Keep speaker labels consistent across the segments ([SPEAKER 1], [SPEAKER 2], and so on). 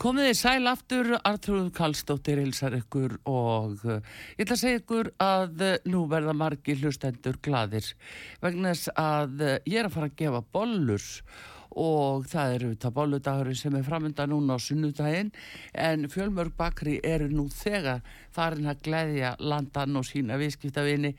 [SPEAKER 1] Komið þið sæl aftur, Artur Kallstóttir hilsar ykkur og uh, ég ætla að segja ykkur að uh, nú verða margi hlustendur gladir vegna þess að uh, ég er að fara að gefa bollur og það eru þetta bolludagurinn sem er framönda núna á sunnudaginn en fjölmörg bakri eru nú þegar farin að gleðja landan og sína viðskiptavini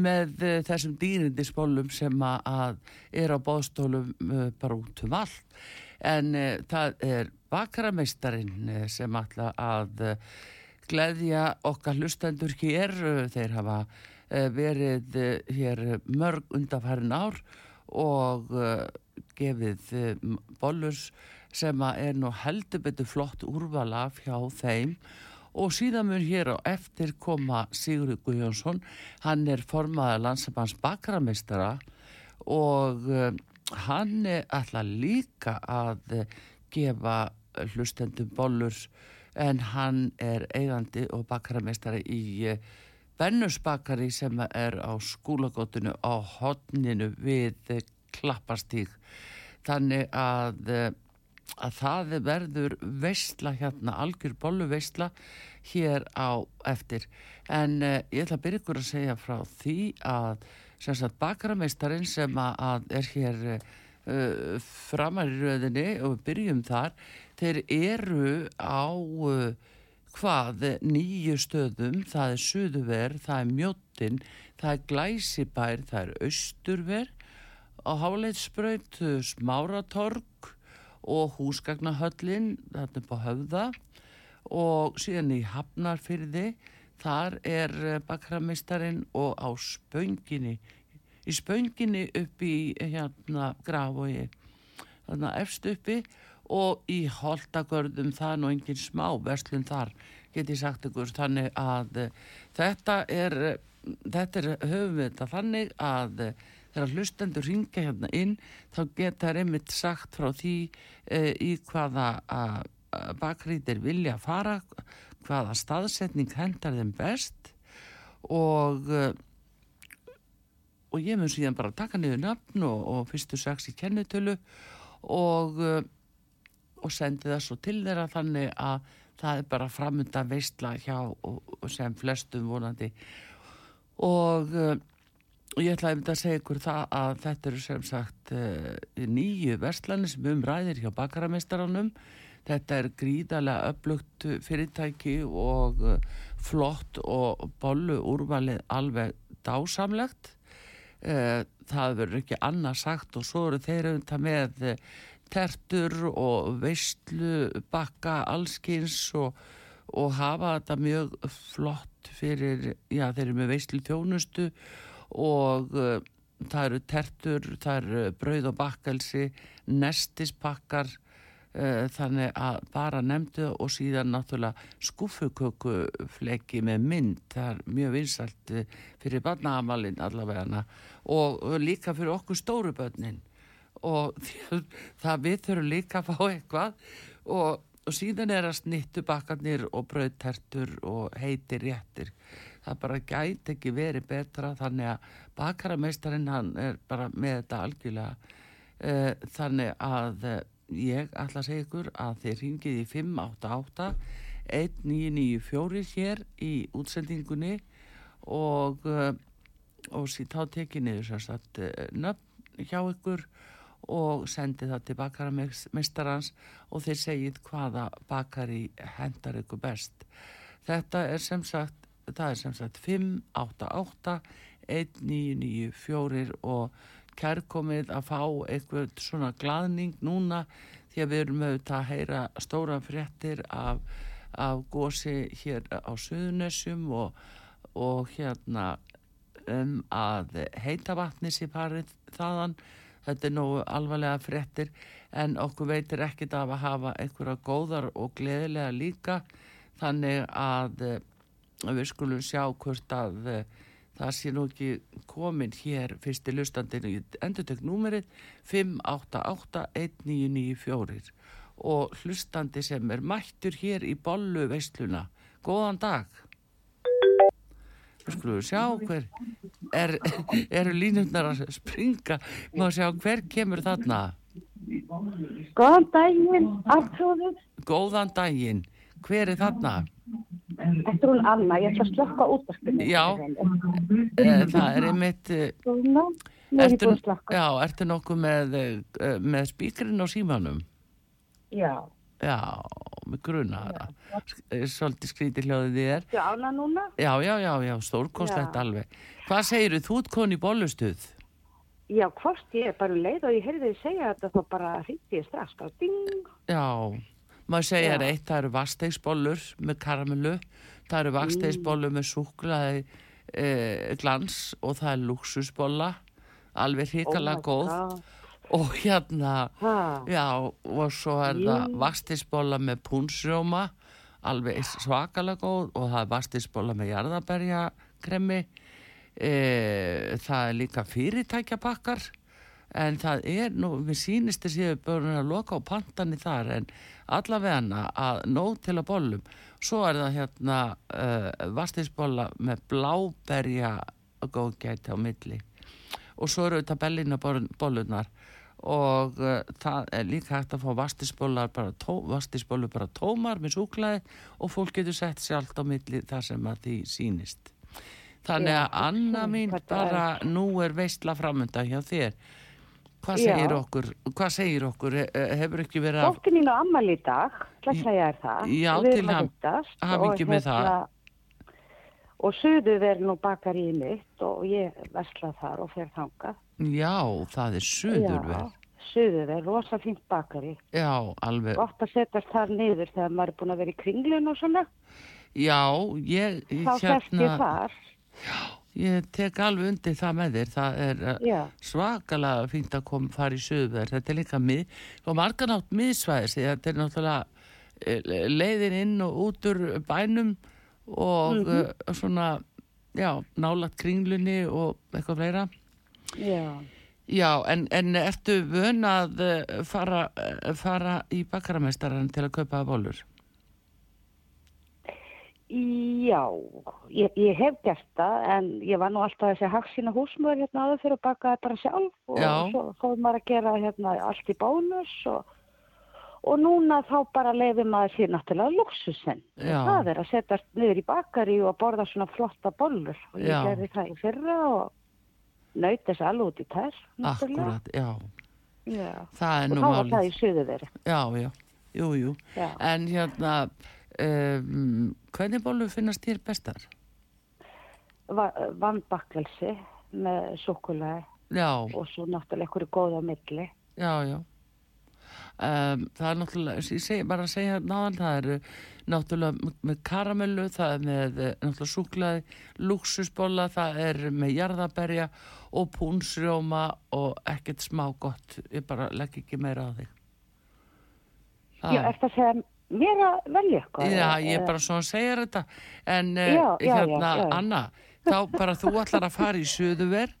[SPEAKER 1] með uh, þessum dýrindisbollum sem að- að er á bóðstólum uh, bara út um allt en uh, það er bakarameistarinn eh, sem ætla að uh, gleðja okkar hlustendur hér. Eh, Þeir hafa eh, verið eh, hér mörg undanfærin ár og eh, gefið eh, m- bollur sem að er nú heldur betur flott úrvala hjá þeim og síðan mun hér á eftir koma Sigurður Guðjónsson, hann er formaður landsamanns bakarameistara og eh, hann eh, ætlar líka að eh, gefa eh, hlustendum bollur en hann er eigandi og bakarameistari í eh, Bennus bakari sem er á skúlagótinu á hotninu við eh, klappastíg þannig að eh, að það verður veistla hérna, algjör bollu veistla hér á eftir. En uh, ég ætla að byrja ykkur að segja frá því að sem sagt bakarameistarinn sem að, að er hér uh, framar í röðinni og við byrjum þar, þeir eru á uh, hvað nýju stöðum, það er suðuver, það er mjóttin, það er glæsibær, það er austurver, á Háleitsbraut, eh, Smáratorg og Húsgagnahöllin, þarna upp á Höfða og síðan í Hafnarfyrði, þar er bakrameistarin og á Spönginni, í Spönginni upp í hérna Grafogi, þarna efst uppi og í Holtagörðum, það er nú engin smá verslun þar, get ég sagt ykkur, þannig að eh, þetta er, eh, þetta er, höfum við þetta þannig að eh, þegar hlustendur ringja hérna inn, þá geta þær einmitt sagt frá því e, í hvaða a- a- bakri þeir vilja fara, hvaða staðsetning hendar þeim best og eh, og ég mun síðan bara taka niður nafn og, og fyrstu sex í kennitölu og, eh, og sendi það svo til þeirra þannig að það er bara framundan veistla hjá og, og sem flestum vonandi og eh, og ég ætlaði einmitt að segja ykkur það að þetta eru sem sagt eh, nýju verslani sem um ræðir hjá bakarameistaranum. Þetta er gríðarlega öflugt fyrirtæki og eh, flott og bollu úrvalið alveg dásamlegt. Eh, Það verður ekki annað sagt og svo eru þeir auðvitað með eh, tertur og veistlu bakka allskins og, og hafa þetta mjög flott fyrir, já þeir eru með veistlu þjónustu og uh, það eru tertur, það eru brauð og bakkelsi, nestispakkar, uh, þannig að bara nefndu og síðan náttúrulega skuffukökufleki með mynd, það er mjög vinsalt eh, fyrir barnaðamalinn allavegana og eh, líka fyrir okkur stóru börnin og því- það við þurfum líka að fá eitthvað og, og síðan er að snittu bakkarnir og brauðtertur og heitir réttir það bara gæti ekki verið betra þannig að bakarameistarinn hann er bara með þetta algjörlega Eh, þannig að eh, ég ætla að segja ykkur að þið ringið í 588 1994 hér í útsendingunni og eh, og síðan þá tekið niður sem sagt eh, nöfn hjá ykkur og sendið það til bakarameistarans og þeir segið hvaða bakari hendar ykkur best. Þetta er sem sagt, það er sem sagt 588 1994 og kærkomið að fá eitthvað svona glaðning núna því að við erum auðvitað að heyra stóra fréttir af, af gósi hér á Suðunessum og, og hérna um að heita vatni sé parið þaðan þetta er nógu alvarlega fréttir en okkur veitir ekkit af að hafa einhverja góðar og gleðilega líka þannig að eh, við skulum sjá hvort að eh, það sé nú ekki komin hér fyrst í lustandinu endurtök númerið 5881994 og hlustandi sem er mættur hér í bollu veisluna góðan dag við skulum sjá hver er, eru línundar að springa má sjá hver kemur þarna
[SPEAKER 2] Góðan daginn, Artrúður.
[SPEAKER 1] góðan daginn hver er þarna?
[SPEAKER 2] Þetta er hún Anna, ég ætla að slökka útvarpinu.
[SPEAKER 1] Já. Eh, Það er einmitt eh,
[SPEAKER 2] Svona, nú er ég búin að slökka.
[SPEAKER 1] já, ertu nokkuð með, eh, með spíkurinn á símanum?
[SPEAKER 2] Já.
[SPEAKER 1] Já, með gruna það. Eh, Svolítið skrítið hljóðið þið er.
[SPEAKER 2] Þú ána núna?
[SPEAKER 1] Já, já, já, já, stórkostlegt alveg. Hvað segirðu, þú ert koni í bollustuð?
[SPEAKER 2] Já, hvort, ég er bara um leið og ég heyrði þið segja þetta þá bara hýtti ég strax. Bara ding.
[SPEAKER 1] Já, maður segja reitt, það eru vastegsbollur með karamellu, það eru vastegsbollur með súklaði eh, glans og það er luxusbolla, alveg hrikalega góð. Og hérna,
[SPEAKER 2] Oh Ha,
[SPEAKER 1] Já, og svo er það vastisbóla með púnsrjóma, alveg svakalega góð og það er vastisbóla með jarðaberjakremmi, e, það er líka fyrirtækjapakkar, en það er, nú, við sýnist þess að við börjum að loka á pantanni þar, en allavega að nóg til að bollum. Svo er það hérna e, vastisbóla með bláberja góðgæti á milli og svo eru þetta bellinabollunar og uh, það er líka hægt að fá vastisbólar bara, tó, vastisbólur bara tómar með súklaði og fólk getur sett sér allt á milli þar sem að því sýnist. Þannig að Anna mín
[SPEAKER 2] þetta
[SPEAKER 1] bara nú er veistla framönda hjá þér. Hvað
[SPEAKER 2] Já.
[SPEAKER 1] segir okkur? Hvað segir okkur? He- eh, Hefur ekki verið að...
[SPEAKER 2] Dóttir mín á ammali í dag, hlækla ég er það.
[SPEAKER 1] Já,
[SPEAKER 2] Og við
[SPEAKER 1] til
[SPEAKER 2] erum að
[SPEAKER 1] ham-
[SPEAKER 2] hittast
[SPEAKER 1] hamingju
[SPEAKER 2] og
[SPEAKER 1] með það.
[SPEAKER 2] hérna- Og söðu verður nú bakar í mitt og ég versla þar og fer þangað.
[SPEAKER 1] Já, það er söðurverð.
[SPEAKER 2] Söðu verður, rosa fínt bakari.
[SPEAKER 1] Já. alveg.
[SPEAKER 2] gott að setjast þar niður þegar maður er búin að vera í kringlun og svona
[SPEAKER 1] Já, ég... hérna,
[SPEAKER 2] þá þess ég þar
[SPEAKER 1] Ég tek alveg undir það með þér. Það er uh,
[SPEAKER 2] Já.
[SPEAKER 1] svakalega fínt að koma fara í söðuverð. Þetta er líka mið, og margan átt miðsvæðis. því Þetta er náttúrulega eh, leiðin inn og út úr bænum og
[SPEAKER 2] Mhm.
[SPEAKER 1] mm svona, já, nálat kringlunni og eitthvað fleira.
[SPEAKER 2] já.
[SPEAKER 1] Já, en, en ertu vön að eh, fara, eh, fara í bakaramestaran til að kaupa bólur?
[SPEAKER 2] já, ég, ég hef gert það en ég var nú alltaf þessi haksina húsmöður hérna aður fyrir að baka það bara sjálf og
[SPEAKER 1] Já.
[SPEAKER 2] svo fóðum maður að gera hérna allt í bónus og, og núna þá bara leiði maður sér náttúrulega luxusen
[SPEAKER 1] Já.
[SPEAKER 2] það er að setjast niður í bakari og að borða svona flotta bollur og ég
[SPEAKER 1] Já.
[SPEAKER 2] gerði það í fyrra og naut þess alveg út í tær náttúrulega.
[SPEAKER 1] Akkurat, já.
[SPEAKER 2] Já.
[SPEAKER 1] Það er
[SPEAKER 2] og
[SPEAKER 1] nú
[SPEAKER 2] þá var það í
[SPEAKER 1] málið.
[SPEAKER 2] suðuveri
[SPEAKER 1] Já, já, jú, jú.
[SPEAKER 2] Já.
[SPEAKER 1] En hérna, um, hvernig bólur finnast þér bestar?
[SPEAKER 2] Va- vannbakkelsi með súkulega
[SPEAKER 1] Já,
[SPEAKER 2] og svo náttúrulega einhverju góða milli
[SPEAKER 1] já, já. Um, það er náttúrulega, ég seg, bara að segja náðan, það eru náttúrulega m- með karamellu, það er með eh, náttúrulega súklaði, lúksusbolla, það er með jarðaberja og púnsrjóma og ekkert smá gott, ég bara legg ekki meira á þig. Það-
[SPEAKER 2] Já, eftir að segja mér að velja eitthvað
[SPEAKER 1] Ah. Já,
[SPEAKER 2] eða-
[SPEAKER 1] ég er bara svona að segja þetta en já,
[SPEAKER 2] Já, já,
[SPEAKER 1] hérna,
[SPEAKER 2] já, já.
[SPEAKER 1] Anna þá bara þú ætlar að fara í söðuver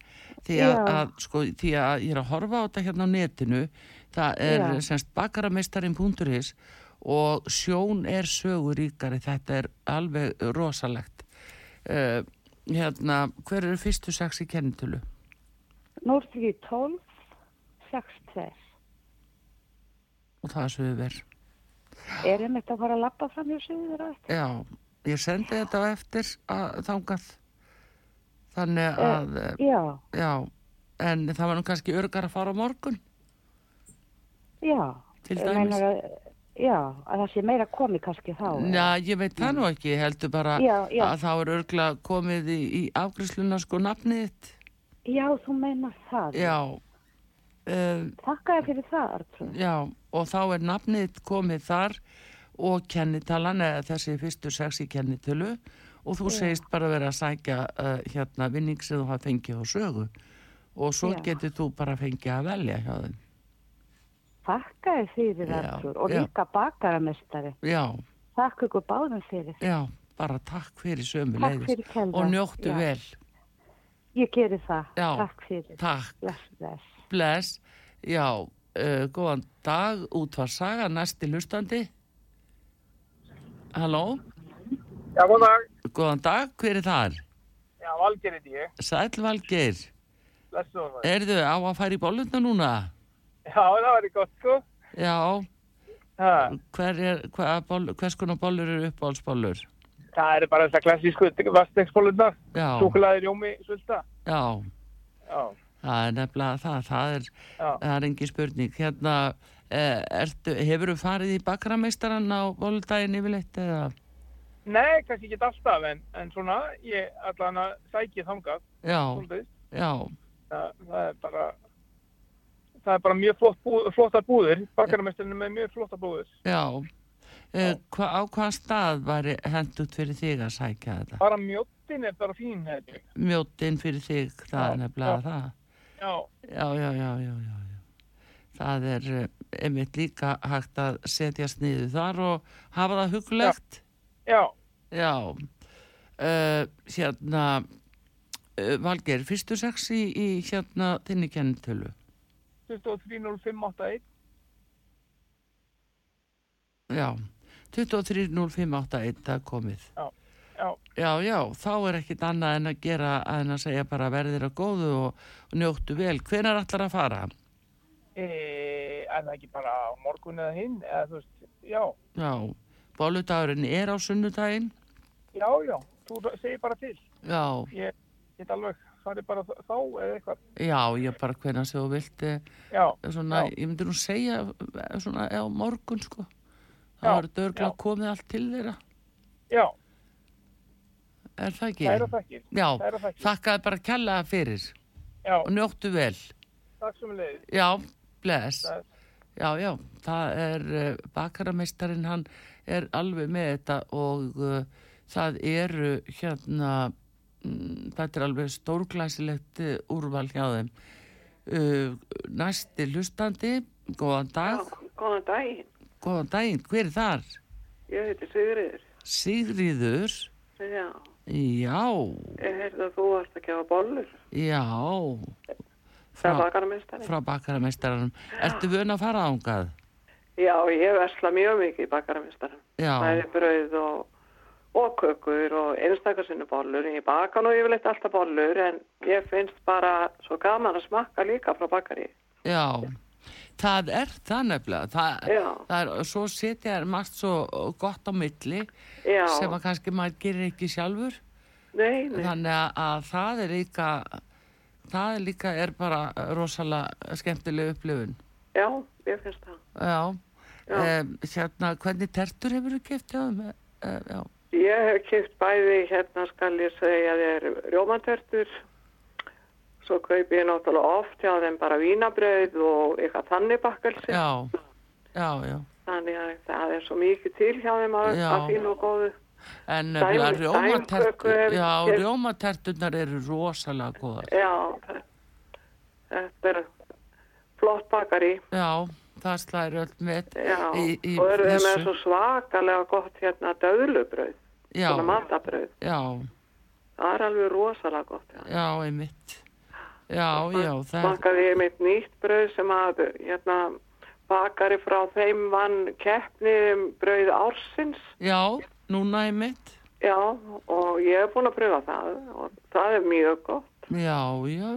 [SPEAKER 1] því að,
[SPEAKER 2] Já.
[SPEAKER 1] að, sko, því að ég er að horfa á þetta hérna á netinu það er
[SPEAKER 2] Já.
[SPEAKER 1] semst bakarameistarinn.is og sjón er söguríkari þetta er alveg rosalegt uh, hérna, hver eru fyrstu sex í kennitölu?
[SPEAKER 2] Nú er því 12 6-2
[SPEAKER 1] og það er söðuver
[SPEAKER 2] Erum þetta að fara að labba fram hjá suður og eftir?
[SPEAKER 1] já, ég sendi þetta á eftir að, þangað
[SPEAKER 2] Eh,
[SPEAKER 1] þannig að uh,
[SPEAKER 2] Já,
[SPEAKER 1] Já, en það var nú kannski örgar að fara á morgun
[SPEAKER 2] já
[SPEAKER 1] til
[SPEAKER 2] Ég
[SPEAKER 1] dæmis.
[SPEAKER 2] meinar að, Já, að það sé meira komið kannski þá eða?
[SPEAKER 1] Já, ég veit það nú ekki, ég heldur bara
[SPEAKER 2] Já, já.
[SPEAKER 1] að þá er örgla komið í, í afgriðsluna sko nafnið þitt.
[SPEAKER 2] Já, þú meinar það
[SPEAKER 1] Já, um,
[SPEAKER 2] Þakka þér fyrir það, Artur
[SPEAKER 1] já, og þá er nafnið þitt komið þar og kennitalan eða þessi fyrstu sex í kennitölu eh, og þú segist bara vera að sækja uh, hérna vinning sem þú hafa fengið á sögu og svo
[SPEAKER 3] Já.
[SPEAKER 1] getur þú bara fengið að velja hjá þeim.
[SPEAKER 3] Þakka þér fyrir
[SPEAKER 1] Já,
[SPEAKER 3] Artur og
[SPEAKER 1] já.
[SPEAKER 3] líka bakaramestari.
[SPEAKER 1] Já,
[SPEAKER 3] Þakka ykkur báðum fyrir.
[SPEAKER 1] já, bara takk fyrir sömu
[SPEAKER 3] Takk fyrir, Kendra.
[SPEAKER 1] og njóttu
[SPEAKER 3] Já.
[SPEAKER 1] vel.
[SPEAKER 3] Ég geri það.
[SPEAKER 1] Já.
[SPEAKER 3] Takk fyrir.
[SPEAKER 1] Takk,
[SPEAKER 3] Bless, bless.
[SPEAKER 1] bless, já, uh, góðan dag, útvarsaga, næsti hlustandi. Halló,
[SPEAKER 4] Já, góðan dag.
[SPEAKER 1] góðan dag, hver er þar?
[SPEAKER 4] Já, Valgeir heiti ég.
[SPEAKER 1] Sæll Valgeir,
[SPEAKER 4] Lestu hún maður.
[SPEAKER 1] erðu á að fara í bolluna núna?
[SPEAKER 4] Já, það væri gott, sko.
[SPEAKER 1] Já,
[SPEAKER 4] Ha,
[SPEAKER 1] hver er, hva, boll, hvers konar bollur eru uppáhaldsbollur?
[SPEAKER 4] það eru bara þessar klassísku vastegsbólurnar.
[SPEAKER 1] Já,
[SPEAKER 4] Súkulaði rjómi, svolta.
[SPEAKER 1] já,
[SPEAKER 4] Já,
[SPEAKER 1] það er nefnilega það, það er,
[SPEAKER 4] já.
[SPEAKER 1] það er engi spurning. Hérna, eh, ertu, hefur þú farið í bakrameistaran á bolludaginn yfirleitt eða?
[SPEAKER 4] Nei, kannski ekki alltaf, en, en svona, ég allan að sæki þangað,
[SPEAKER 1] Já,
[SPEAKER 4] svolítið.
[SPEAKER 1] já,
[SPEAKER 4] Það, það er bara, það er bara mjög flott búð, flottar búðir. Bakararmesturinn er með mjög flottar búðir.
[SPEAKER 1] já. Eh, hva, á hvaða stað væri hendut fyrir þig að sækja þetta?
[SPEAKER 4] Bara mjóttin er bara fín, hefði. ég.
[SPEAKER 1] Mjóttinn fyrir þig, það
[SPEAKER 4] Já,
[SPEAKER 1] er nefnilega
[SPEAKER 4] já.
[SPEAKER 1] það.
[SPEAKER 4] Já,
[SPEAKER 1] Já, já, já, já, já, já. Það er eh, einmitt líka hægt að setjast niður þar og hafa það hugulegt.
[SPEAKER 4] já.
[SPEAKER 1] Já. Uh, hérna, uh, Valgeir, fyrstu sex í, í hérna þinni kennitölu?
[SPEAKER 4] 23.05.81.
[SPEAKER 1] Já. 23.05.81, það er komið.
[SPEAKER 4] Já, já.
[SPEAKER 1] Já, já, þá er ekkit annað en að gera en að segja bara verðir að góðu og, og njóttu vel. Hvenær ætlar að fara?
[SPEAKER 4] E, en það ekki bara á morgun eða hinn, eða þú veist, já.
[SPEAKER 1] Já, bóludagurinn er á sunnudaginn.
[SPEAKER 4] Já, já, þú segir bara til.
[SPEAKER 1] Já,
[SPEAKER 4] Ég get alveg, það er bara þá eða eitthvað.
[SPEAKER 1] Já, ég bara hvenna sem þú vilt eh,
[SPEAKER 4] Já,
[SPEAKER 1] svona,
[SPEAKER 4] Já.
[SPEAKER 1] ég myndi nú segja eh, svona á morgun sko
[SPEAKER 4] Já,
[SPEAKER 1] það var dörgla
[SPEAKER 4] já.
[SPEAKER 1] komið allt til þeirra
[SPEAKER 4] já,
[SPEAKER 1] er það ekki?
[SPEAKER 4] það er að þakkir.
[SPEAKER 1] Já,
[SPEAKER 4] Það er að þakkir.
[SPEAKER 1] þakkaði bara kjallaða fyrir
[SPEAKER 4] Já,
[SPEAKER 1] og njóttu vel
[SPEAKER 4] takk sem leiðis.
[SPEAKER 1] Já, bless
[SPEAKER 4] Bless.
[SPEAKER 1] Já, já, það er eh, bakarameistarinn hann er alveg með þetta og eh, það eru hérna mm, þetta er alveg stórglæsilegt eh, úrval hjá þeim Uh, næsti hlustandi góðan dag
[SPEAKER 5] Já, góðan dag.
[SPEAKER 1] Góðan daginn, hver er þar?
[SPEAKER 5] Ég heiti Sigriður.
[SPEAKER 1] Sigríður?
[SPEAKER 5] Já,
[SPEAKER 1] Já,
[SPEAKER 5] ég heyrði að þú varst að gefa bollur.
[SPEAKER 1] já.
[SPEAKER 5] Það
[SPEAKER 1] Frá,
[SPEAKER 5] bakar mestari.
[SPEAKER 1] frá bakarameistarunum. Ertu vön að fara ángað?
[SPEAKER 5] Já, ég versla mjög mikið í bakar mestari. Það
[SPEAKER 1] Já,
[SPEAKER 5] er brauð og, og kökur og einstakarsinnu bollur. Ég baka nú yfirleitt alltaf bollur en ég finnst bara svo gaman að smakka líka frá bakari.
[SPEAKER 1] já. Það er það nefnilega. Það,
[SPEAKER 5] Já.
[SPEAKER 1] það er, svo setja er margt svo gott á milli
[SPEAKER 5] Já,
[SPEAKER 1] sem að kannski maður gerir ekki sjálfur.
[SPEAKER 5] nei, nei.
[SPEAKER 1] Þannig að, að það er líka, það er líka er bara rosalega skemmtileg upplifun.
[SPEAKER 5] Já, ég finnst það.
[SPEAKER 1] Já.
[SPEAKER 5] Já.
[SPEAKER 1] Um, hérna, hvernig tertur hefur þú keft hjá þeim? Uh, já.
[SPEAKER 5] Ég hef kýft bæði, hérna skal ég segja þér rjómatertur, svo kaupi ég náttúrulega oft hjá þeim bara vínabrauð og eitthvað þannig bakkelsi.
[SPEAKER 1] Já, já, já.
[SPEAKER 5] Þannig að það er svo mikið til hjá þeim að,
[SPEAKER 1] Já.
[SPEAKER 5] að fínu og góðu.
[SPEAKER 1] En nefnilega
[SPEAKER 5] dæmi- dæmköku
[SPEAKER 1] rjómatertur,
[SPEAKER 5] hef-
[SPEAKER 1] já,
[SPEAKER 5] hef-
[SPEAKER 1] rjómaterturnar eru rosalega góðar.
[SPEAKER 5] Já, það- þetta er flott bakari.
[SPEAKER 1] Já, það slæðir öll með
[SPEAKER 5] Já,
[SPEAKER 1] í, í
[SPEAKER 5] og eru þeim með
[SPEAKER 1] þessu.
[SPEAKER 5] svo svakalega gott hérna döðlubrauð,
[SPEAKER 1] Já,
[SPEAKER 5] svona matabrauð.
[SPEAKER 1] já,
[SPEAKER 5] Það er alveg rosalega gott. Já.
[SPEAKER 1] já, einmitt. Já, já, það er,
[SPEAKER 5] Bakaði ég mitt nýtt brauð sem að hérna, bakari frá þeim vann keppni um brauð ársins.
[SPEAKER 1] já, núna einmitt.
[SPEAKER 5] Já, og ég hef búin að pröfa það og það er mjög gott.
[SPEAKER 1] Já, já,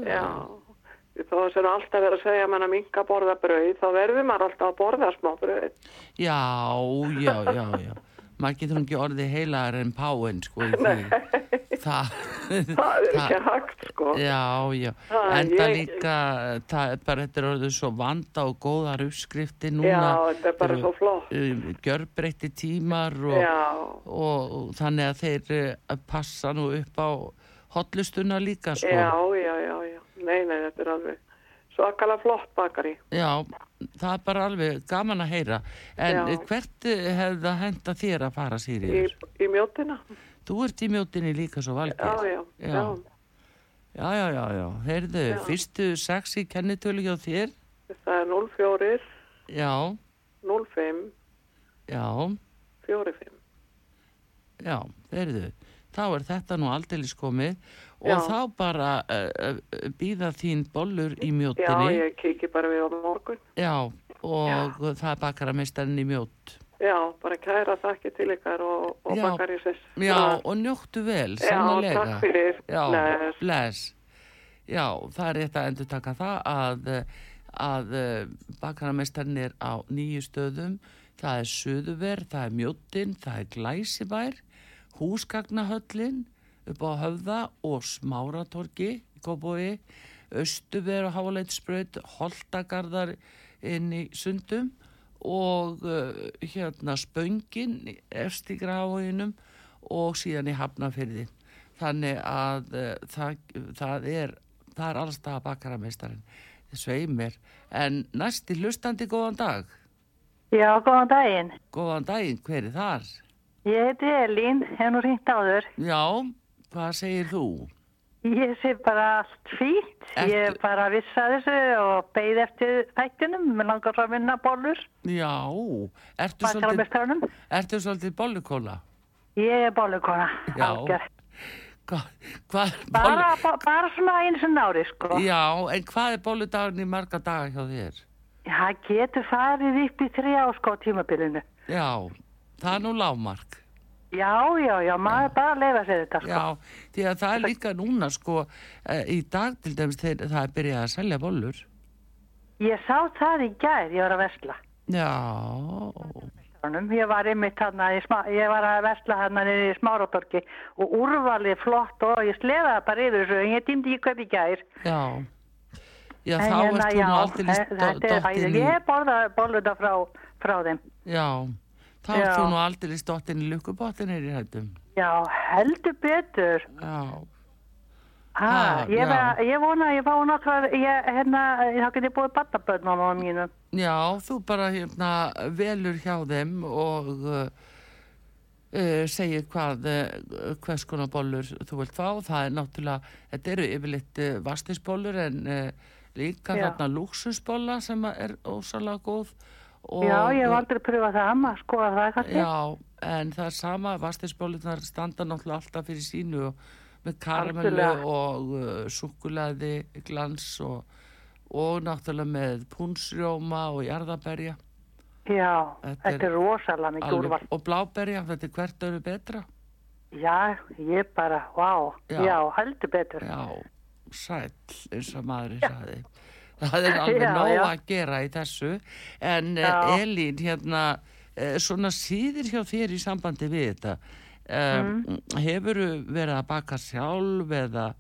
[SPEAKER 5] Já, þó að sem alltaf verið að segja að mann að minga borða brauð, þá verður maður alltaf að borða smá brauð.
[SPEAKER 1] já, já, já, já. Maður getur nú ekki orðið heilaðar en páinn, sko, í því. Það,
[SPEAKER 5] Það er ekki hægt, sko.
[SPEAKER 1] Já, já,
[SPEAKER 5] Það-
[SPEAKER 1] en það
[SPEAKER 5] ég-
[SPEAKER 1] líka, það er bara, þetta er orðið svo vanda og góðar uppskrifti núna.
[SPEAKER 5] Já, þetta er bara
[SPEAKER 1] Eru,
[SPEAKER 5] svo flott.
[SPEAKER 1] um, Gjörbreytti tímar og,
[SPEAKER 5] Já,
[SPEAKER 1] og, og þannig að þeir eh, passa nú upp á hotlustuna líka, sko.
[SPEAKER 5] já, já, já, já. Nei, nei, þetta er alveg svakalega flott bakari.
[SPEAKER 1] Já, það er bara alveg gaman að heyra. En
[SPEAKER 5] Já.
[SPEAKER 1] já. hvert eh, hefði það henda þér að fara,
[SPEAKER 5] Í,
[SPEAKER 1] Sýriður?
[SPEAKER 5] í mjótina.
[SPEAKER 1] Þú ert í mjótinni líka svo valgir.
[SPEAKER 5] Já, já, já.
[SPEAKER 1] Já, já, já, já. Heyrðu,
[SPEAKER 5] Já.
[SPEAKER 1] fyrstu sex í kennitölu hjá þér?
[SPEAKER 5] Það er 04
[SPEAKER 1] Já,
[SPEAKER 5] 05
[SPEAKER 1] já,
[SPEAKER 5] 45.
[SPEAKER 1] já, heyrðu. Þá er þetta nú aldeilis komið og
[SPEAKER 5] Já.
[SPEAKER 1] þá bara uh, uh, býða þín bollur í
[SPEAKER 5] Já,
[SPEAKER 1] mjóttinni.
[SPEAKER 5] ég kiki bara við á morgun.
[SPEAKER 1] Já, og það er bakarameistarinn í mjótt.
[SPEAKER 5] Já, bara kæra þakki til ykkar og, og
[SPEAKER 1] Já.
[SPEAKER 5] bakkar í sess.
[SPEAKER 1] Já, og njóttu vel,
[SPEAKER 5] Já,
[SPEAKER 1] sannlega.
[SPEAKER 5] takk fyrir.
[SPEAKER 1] Já, bless.
[SPEAKER 5] Bless.
[SPEAKER 1] Já, það er rétt að endur taka það að, að bakaramestarinn er á nýju stöðum. Það er Suðuver, það er Mjóttin, það er Glæsibær, Húsgagnahöllin upp á Höfða og Smáratorki í Kópói, Östuver og Háleitsbraut, Holtagarðar inn í Sundum og uh, hérna Spöngin efst í Grafoginum og síðan í Hafnafyrði. Þannig að uh, það, það er, það er allstað bakarameistarinn. Það sveimir. En næsti hlustandi góðan dag.
[SPEAKER 2] Já, góðan daginn.
[SPEAKER 1] Góðan daginn, hver er þar?
[SPEAKER 2] Ég heiti Elín, hef nú ringt áður.
[SPEAKER 1] Já, hvað segir þú?
[SPEAKER 2] Ég sé bara allt fínt. Ég
[SPEAKER 1] Ertu-
[SPEAKER 2] bara vissi að þessu og beigði eftir þættinum. Mér langar svo að vinna bólur,
[SPEAKER 1] Já, ertu svolítið,
[SPEAKER 2] bakararmestranum.
[SPEAKER 1] ertu svolítið bollukóla?
[SPEAKER 2] Ég er bólukona.
[SPEAKER 1] Já.
[SPEAKER 2] algjör.
[SPEAKER 1] Hva, hvað er
[SPEAKER 2] Bara,
[SPEAKER 1] bollu-
[SPEAKER 2] bo- bara svona eins og nári, sko.
[SPEAKER 1] Já, en hvað er bolludagurinn í marga daga hjá þér?
[SPEAKER 2] Það getur farið upp í þrjá, sko, á tímabilinu.
[SPEAKER 1] Já, það er nú lágmark.
[SPEAKER 2] Já, já, já, maður bara leifa sér þetta, sko.
[SPEAKER 1] Já, því að það er líka núna sko eh, í dag til dæmis þegar það er byrjað að selja bollur.
[SPEAKER 2] Ég sá það í gær, ég var að vesla.
[SPEAKER 1] Já,
[SPEAKER 2] Honum. Ég var einmitt hérna, í smá- ég var að versla hérna niður í Smáraborgi og úrvalið flott og ég sleðaði bara yfir þessu en ég týndi í kaup í gær.
[SPEAKER 1] já. Já,
[SPEAKER 2] En
[SPEAKER 1] þá
[SPEAKER 2] hérna,
[SPEAKER 1] ert þú
[SPEAKER 2] já,
[SPEAKER 1] nú aldrei
[SPEAKER 2] eh, þetta er
[SPEAKER 1] dottin
[SPEAKER 2] æði.
[SPEAKER 1] í...
[SPEAKER 2] Ég borðaði bolluða frá, frá þeim.
[SPEAKER 1] Já, þá ert
[SPEAKER 2] Já.
[SPEAKER 1] þú nú aldrei dottin í lukkubottinir í hættum.
[SPEAKER 2] Já, heldur betur.
[SPEAKER 1] Já,
[SPEAKER 2] Ha,
[SPEAKER 1] Ha,
[SPEAKER 2] ég,
[SPEAKER 1] já.
[SPEAKER 2] var, ég vona að ég fá nokkrar, ég, hérna, þá get ég búið batnaböðnunum mínum.
[SPEAKER 1] já, þú bara hérna velur hjá þeim og uh, uh, segir hvað, uh, hvers konar bollur þú vilt fá. Það er náttúrulega, þetta eru yfirleitt uh, vastisbollur en uh, líka
[SPEAKER 2] Já.
[SPEAKER 1] þarna lúksusbolla sem að er ósalega góð. Og,
[SPEAKER 2] Já, ég hef aldrei pröfað það, maður skoða það kannski.
[SPEAKER 1] Já, en það er sama, vastisbólurnar standa náttúrulega alltaf fyrir sínu og með karamellu
[SPEAKER 2] Algjörlega.
[SPEAKER 1] og uh, súkulaði, glans og, og náttúrulega með púnsrjóma og jarðaberja
[SPEAKER 2] Já,
[SPEAKER 1] Þetta
[SPEAKER 2] þetta
[SPEAKER 1] er
[SPEAKER 2] er rosalega mikið úrval.
[SPEAKER 1] alveg- og bláberja, þetta er hvert öru betra.
[SPEAKER 2] Já, ég bara, vá,
[SPEAKER 1] Já.
[SPEAKER 2] já, heldur betur.
[SPEAKER 1] Já, sæll, eins og maður sagði. Það er alveg
[SPEAKER 2] Já,
[SPEAKER 1] nóg
[SPEAKER 2] já.
[SPEAKER 1] að gera í þessu. En já.
[SPEAKER 2] Já.
[SPEAKER 1] Elín, hérna, eh, svona síðir hjá þér í sambandi við þetta. Um,
[SPEAKER 2] Mm.
[SPEAKER 1] Hefurðu verið að baka sjálf eða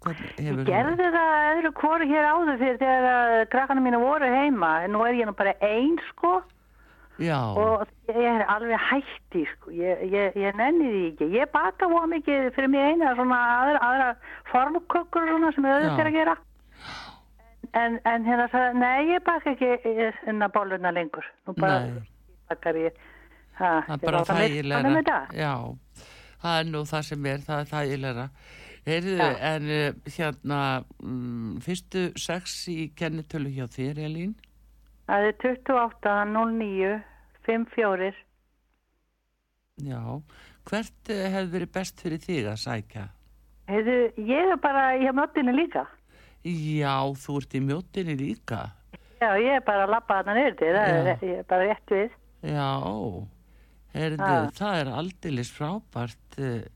[SPEAKER 1] hvernig hefur
[SPEAKER 2] Gerði það öðru kóru hér áður fyrir þegar að krakkana mínu voru heima, en nú er ég nú bara einn sko
[SPEAKER 1] Já,
[SPEAKER 2] og ég er alveg hætti sko, ég, ég, ég nenni því ekki. Ég baka voða mikið fyrir mig eina svona aðra, aðra formkökkur og svona sem er
[SPEAKER 1] Já.
[SPEAKER 2] öðru fyrir að gera. En, en hérna sagði, nei ég baka ekki innan bóluna lengur, nú bara
[SPEAKER 1] Nei.
[SPEAKER 2] bakar ég. Ha,
[SPEAKER 1] það
[SPEAKER 2] ég
[SPEAKER 1] er bara
[SPEAKER 2] láta mig- Þannig með
[SPEAKER 1] þægilega.
[SPEAKER 2] það.
[SPEAKER 1] Já, það er nú það sem er, það er þægilega. Heyrðu,
[SPEAKER 2] Já.
[SPEAKER 1] en eh, hérna, mm, fyrstu sex í kennitölu hjá þér, Elín?
[SPEAKER 2] Það er 28, 09, 54.
[SPEAKER 1] Já, hvert eh, hefði verið best fyrir þig að sækja?
[SPEAKER 2] Heiðu, ég er bara, ég hef möttinu líka.
[SPEAKER 1] Já, þú ert í mjótinni líka.
[SPEAKER 2] Já, ég er bara að lappa þarna niður til, það
[SPEAKER 1] Já.
[SPEAKER 2] er, ég er bara rétt við.
[SPEAKER 1] Já, heyrðu,
[SPEAKER 2] Ha.
[SPEAKER 1] það er aldeilis frábært. eh,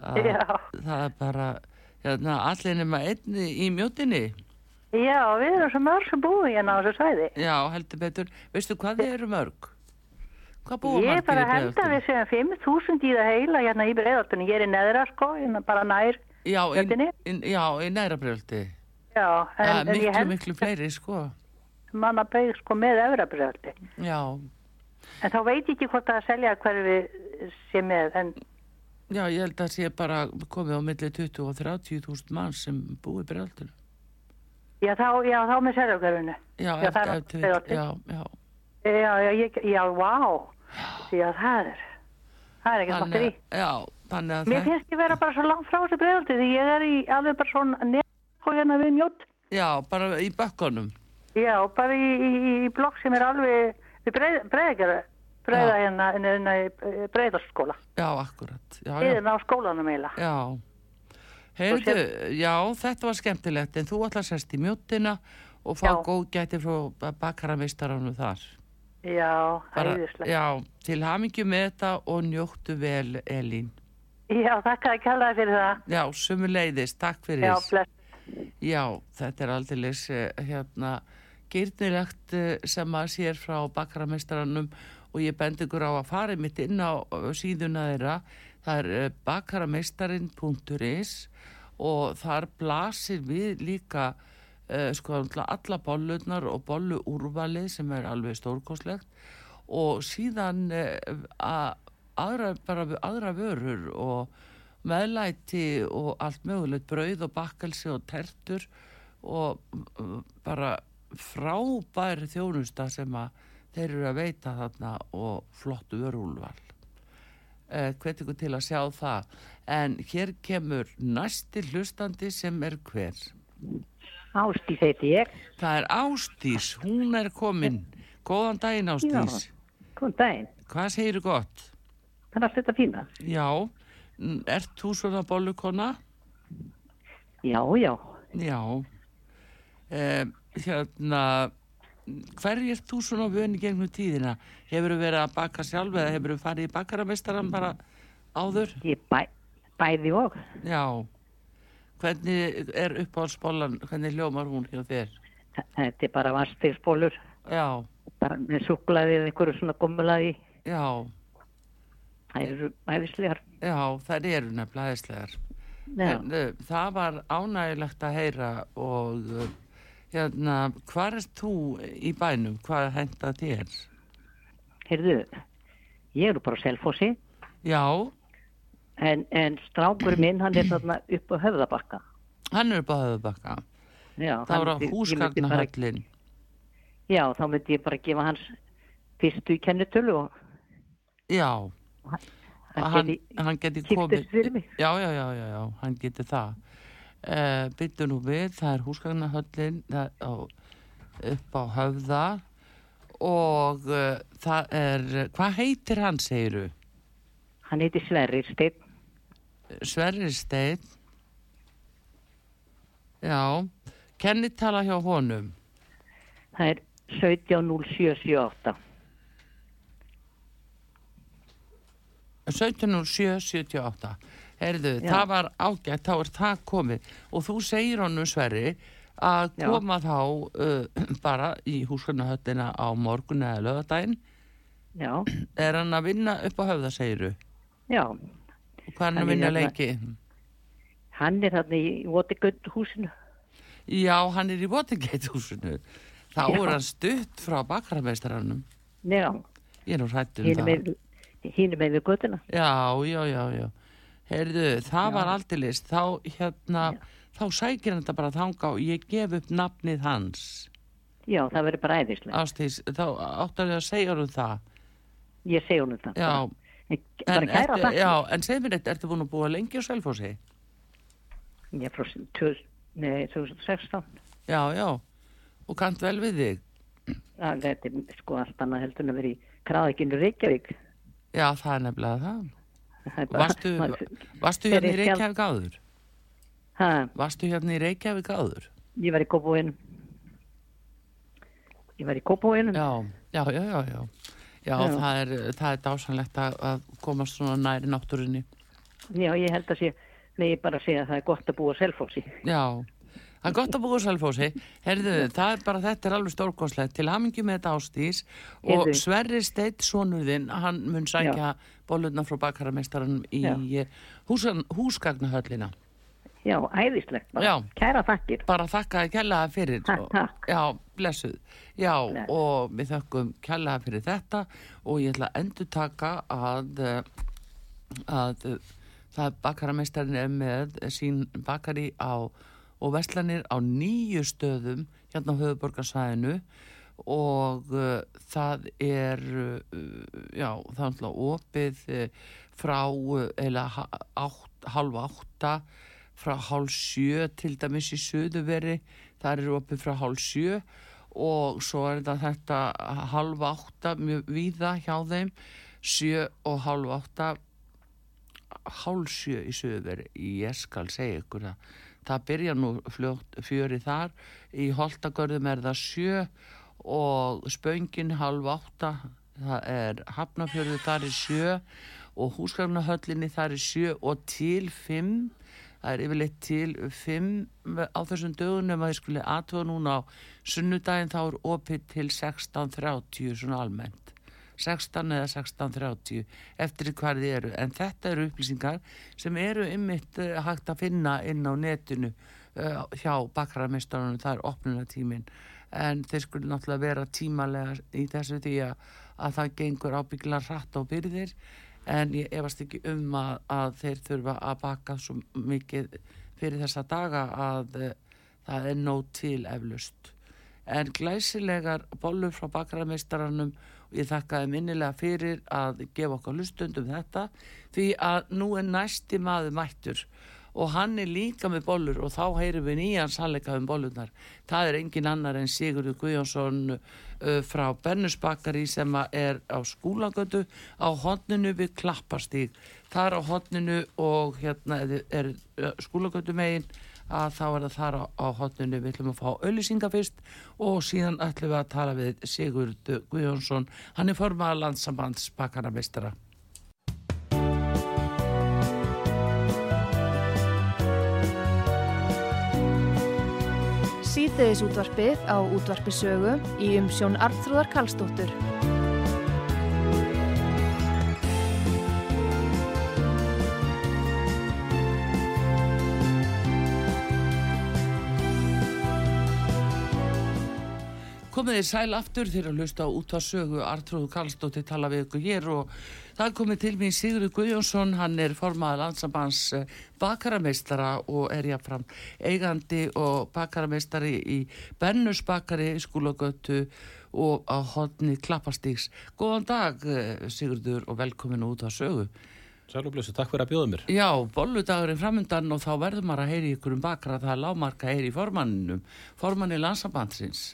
[SPEAKER 1] að-
[SPEAKER 2] Já.
[SPEAKER 1] Það er bara, hérna, allir nema einni í mjótinni.
[SPEAKER 2] Já, við erum svo mörg sem búum hérna á þessu svæði.
[SPEAKER 1] Já, heldur betur. Veistu hvað þið eru mörg? Hvað búa
[SPEAKER 2] Ég er
[SPEAKER 1] margir
[SPEAKER 2] bara að
[SPEAKER 1] Breiðholtinu?
[SPEAKER 2] henda við séum 5.000 í það heila hérna í breiðartunni. Ég er í neðra sko, hérna bara nær.
[SPEAKER 1] Já, í,
[SPEAKER 2] Mjóddinni?
[SPEAKER 1] í, já, í næra brjöldi.
[SPEAKER 2] Já, en,
[SPEAKER 1] Það er
[SPEAKER 2] en
[SPEAKER 1] miklu,
[SPEAKER 2] ég held
[SPEAKER 1] miklu fleiri, sko.
[SPEAKER 2] manna beigð sko með öfra breiðarti.
[SPEAKER 1] Já,
[SPEAKER 2] En þá veit ég ekki hvort það að selja hverfi sé með, en
[SPEAKER 1] já, ég held að sé bara komið á milli 20 og 30 þúsund mann sem búi brjöldinu.
[SPEAKER 2] já, þá, já, þá með selja hverfinu.
[SPEAKER 1] Já,
[SPEAKER 2] Já, það
[SPEAKER 1] eftir,
[SPEAKER 2] er
[SPEAKER 1] eftir,
[SPEAKER 2] náttúrulega
[SPEAKER 1] já, já,
[SPEAKER 2] Já, já, ég, já, vá. Já, það er, það er ekkert batteri.
[SPEAKER 1] já, þannig að
[SPEAKER 2] Mér
[SPEAKER 1] það,
[SPEAKER 2] finnst ég vera bara svo langt frá þessu bregðaldi því ég er í alveg bara svona nefn og hérna við mjótt.
[SPEAKER 1] já, bara í bökkunum.
[SPEAKER 2] Já, bara í, í, í- í blokk sem er alveg við bregðagjara, bregða
[SPEAKER 1] Já.
[SPEAKER 2] hérna, hérna, hérna bregðarskóla.
[SPEAKER 1] Já, akkurat. Já, já,
[SPEAKER 2] Yfir á skólanum eiginlega.
[SPEAKER 1] já. Heyrðu, já, þetta var skemmtilegt, en þú ætla að sérst í mjóttina og fá
[SPEAKER 2] Já.
[SPEAKER 1] góð gæti frá bakaramistarannu þar.
[SPEAKER 2] Já,
[SPEAKER 1] Bara-
[SPEAKER 2] æðislegt.
[SPEAKER 1] Já, til hamingju með þetta og njóttu vel, Elín.
[SPEAKER 2] Já, þakka að kella fyrir það.
[SPEAKER 1] Já, sumuleiðis, takk fyrir.
[SPEAKER 2] Já, bless.
[SPEAKER 1] Já, þetta er aldeilis eh, hérna gyrnilegt eh, sem að sér frá bakarameistarannum og ég bendi ykkur á að fara mitt inn á eh, síðuna þeirra það er eh, bakarameistarin.is og þar blasir við líka eh, sko náttúrulega alla bollunar og bollu úrvalið sem er alveg stórkoslegt og síðan eh, a- aðra, bara aðra vörur og meðlæti og allt mögulegt brauð og bakkelsi og tertur og uh, bara frábær þjónusta sem að þeir eru að veita þarna og flottu vörúlval hvet ykkur til að sjá það en hér kemur næsti hlustandi sem er hver
[SPEAKER 3] Ástís heiti ég.
[SPEAKER 1] það er Ástís, hún er komin góðan daginn Ástís
[SPEAKER 3] Góðan daginn.
[SPEAKER 1] hvað segir gott?
[SPEAKER 3] Það er allt þetta fína.
[SPEAKER 1] Já, mm, ert þú svona bollukonna?
[SPEAKER 3] Já, já.
[SPEAKER 1] Já. Eh, hérna, hverju ert þú svona vöni gegnum tíðina? Hefur þú verið að baka sjálf eða hefur þú farið í bakaramestaran bara áður?
[SPEAKER 3] Ég bæ, bæði og.
[SPEAKER 1] Já. Hvernig er uppáhaldsbollan, hvernig ljómar hún hjá þér?
[SPEAKER 3] Þetta er bara vastegsbólur.
[SPEAKER 1] Já,
[SPEAKER 3] Bara með súklaði eða einhverju svona gummulaði.
[SPEAKER 1] já,
[SPEAKER 3] Það eru æðislegar.
[SPEAKER 1] já, þær eru nefnilega æðislegar.
[SPEAKER 3] Já.
[SPEAKER 1] En, uh, það var ánægilegt að heyra og uh, hérna, hvað erst þú í bænum? Hvað henda þér?
[SPEAKER 3] Heyrðu, ég eru bara á selfósi.
[SPEAKER 1] Já,
[SPEAKER 3] En, en strákur minn, hann er þarna upp á höfðabakka.
[SPEAKER 1] hann er upp á höfðbakka.
[SPEAKER 3] Já,
[SPEAKER 1] Það var á
[SPEAKER 3] hann- ég- ég myndi bara-
[SPEAKER 1] húsgagnahöllin.
[SPEAKER 3] Já, þá myndi ég bara gefa hans fyrstu kennitölu og
[SPEAKER 1] Já,
[SPEAKER 3] hann
[SPEAKER 1] hann,
[SPEAKER 3] geti-
[SPEAKER 1] hann geti
[SPEAKER 3] kíkti
[SPEAKER 1] komið.
[SPEAKER 3] fyrir mig.
[SPEAKER 1] Já, já, já, já, já, hann geti það. Uh, Byttu nú við, það er húsgagnahöllin það er á, upp á höfða og uh, það er, hvað heitir hann, segiru?
[SPEAKER 3] hann heiti Sverrir Steinn.
[SPEAKER 1] Sverristeinn Já Kennitala hjá honum
[SPEAKER 3] Það er 170778.
[SPEAKER 1] 170778 Herðu, það var ágætt, þá er það komið og þú segir honum Sverri að
[SPEAKER 3] Já.
[SPEAKER 1] koma þá uh, bara í húsgarnahöllina á morgun eða lögadaginn
[SPEAKER 3] Já,
[SPEAKER 1] er hann að vinna upp á höfða, segiru
[SPEAKER 3] já.
[SPEAKER 1] og hvað er hann
[SPEAKER 3] Hann
[SPEAKER 1] að
[SPEAKER 3] er
[SPEAKER 1] vinna
[SPEAKER 3] hérna-
[SPEAKER 1] lengi?
[SPEAKER 3] Hann er þarna í Votigönd húsinu.
[SPEAKER 1] Já, hann er í Votingate húsinu þá er hann stutt frá bakrameistaranum
[SPEAKER 3] Já,
[SPEAKER 1] ég er nú hrætt um
[SPEAKER 3] hínu
[SPEAKER 1] það
[SPEAKER 3] með, hínu með við göttuna.
[SPEAKER 1] Já, já, já, já. Heyrðu, það var aldilist. Þá, hérna, þá sækir hann þetta bara þanga og ég gef upp nafnið hans.
[SPEAKER 3] Já, það verður bara æðislega.
[SPEAKER 1] Ástís, þá áttar ég að segja honum það.
[SPEAKER 3] Ég segi honum það.
[SPEAKER 1] Já,
[SPEAKER 3] En, bara kæra
[SPEAKER 1] ertu-
[SPEAKER 3] það.
[SPEAKER 1] já, en segð mér þetta, ertu búin að búa lengi á Selfossi?
[SPEAKER 3] Ég er frá 2000 nei, 2016.
[SPEAKER 1] Já, já, og kannt vel við þig.
[SPEAKER 3] Það þetta er sko allt annað heldur en að vera í Kraðikinu Reykjavík.
[SPEAKER 1] Já, það er nefnilega það.
[SPEAKER 3] Það er bara-
[SPEAKER 1] Varstu,
[SPEAKER 3] maður-
[SPEAKER 1] varstu hérna í
[SPEAKER 3] Fyrir sjálf-
[SPEAKER 1] Reykjavík áður?
[SPEAKER 3] Ha,
[SPEAKER 1] Varstu hérna í Reykjavík áður?
[SPEAKER 3] ég var í Kópavóinum. Ég var í Kópavóinum.
[SPEAKER 1] Já, já, já, já, já. Já,
[SPEAKER 3] Mm. Já.
[SPEAKER 1] það er, það er dásanlegt að, að komast svona næri náttúrunni.
[SPEAKER 3] Já, ég held að sé, með ég bara segja að það er gott að búa á selfósi.
[SPEAKER 1] Já, það er gott að búa úr Selfossi. Herðu, það er bara, þetta er alveg stórkoslegt. Til hamingi með þetta ástís og
[SPEAKER 3] Heyrðu.
[SPEAKER 1] Sverri Steitt sonurðinn, hann mun sækja bólutna frá bakaramestaranum í
[SPEAKER 3] Já.
[SPEAKER 1] húsan, húsgagnahöllina.
[SPEAKER 3] Já, æðislegt bara.
[SPEAKER 1] Já.
[SPEAKER 3] Kæra þakkir.
[SPEAKER 1] Bara þakka að kjallaða fyrir.
[SPEAKER 3] Takk,
[SPEAKER 1] og-
[SPEAKER 3] takk.
[SPEAKER 1] Já, blessuð. Já,
[SPEAKER 3] Bless.
[SPEAKER 1] og við þökkum kjallaða fyrir þetta og ég ætla að endur taka að, eh, að eh, það bakaramestarin er með sín bakari á, og veslanir á nýju stöðum hérna á höfuborgarsvæðinu og uh, það er, uh, já, það er alltaf opið uh, frá, uh, eða halva átta, frá hálf sjö, til dæmis í söðuveri, það er opið frá hálf sjö og svo er þetta þetta halva átta, mjög víða hjá þeim, sjö og halva átta, hálf sjö í söðuveri, ég skal segja ykkur það. Það byrja nú fljótt fjöri þar, í Holtagörðum er það sjö og spöngin halv átta, það er Hafnafjörðu þar er sjö og húsgafnahöllinni þar er sjö og til fimm, það er yfirleitt til fimm á þessum dögunum að ég skulle aðtöða núna á sunnudaginn þá er opið til 16.30 svona almennt. 16 eða 16.30 eftir hvað þið eru en þetta eru upplýsingar sem eru ymmit hægt að finna inn á netinu uh, hjá bakramestarunum, það er opnunatímin en þeir skulle náttúrulega vera tímalega í þessu því að, að það gengur ábyggla rætt á byrðir en ég efast ekki um að, að þeir þurfa að baka svo mikið fyrir þessa daga að uh, það er nóg til eflust en glæsilegar bollur frá bakramestaranum Ég þakkaði minnilega fyrir að gefa okkar lustundum þetta því að nú er næsti maður mættur og hann er líka með bollur og þá heyrum við nýjan sannleika um bollunar. Það er engin annar en Sigurður Guðjónsson uh, frá Bernusbakari sem að er á skúlagötu á hodninu við Klapparstík. Það er á hodninu og hérna er, er uh, skúlagötu meginn að þá er það þar á, á hotninu við ætlum að fá öllisinga fyrst og síðan ætlum við að tala við Sigurd Guðjónsson, hann er formaða landsambands bakkararmistara.
[SPEAKER 6] Sýteðis útvarpið á útvarpisögu í umsjón Arnþróðar Karlsdóttur.
[SPEAKER 1] Komið þið sæl aftur þegar að hlusta á útvarsögu Artrúðu Karlsdóttir tala við ykkur hér og það komið til mín Sigurður Guðjónsson, hann er formaður landsambans bakarameistara og er jáfnfram eigandi og bakarameistari í Bernus bakari, skúlagötu og á hodni Klappastíks. Góðan dag eh, Sigurður og velkomin á útvarsögu.
[SPEAKER 7] Sælublössu, takk fyrir að bjóða mér.
[SPEAKER 1] Já, bolludagurinn framöndan og þá verður maður að heyri ykkur um bakara, það er lámarka að heyri í formanninum, formanni landsambandsins.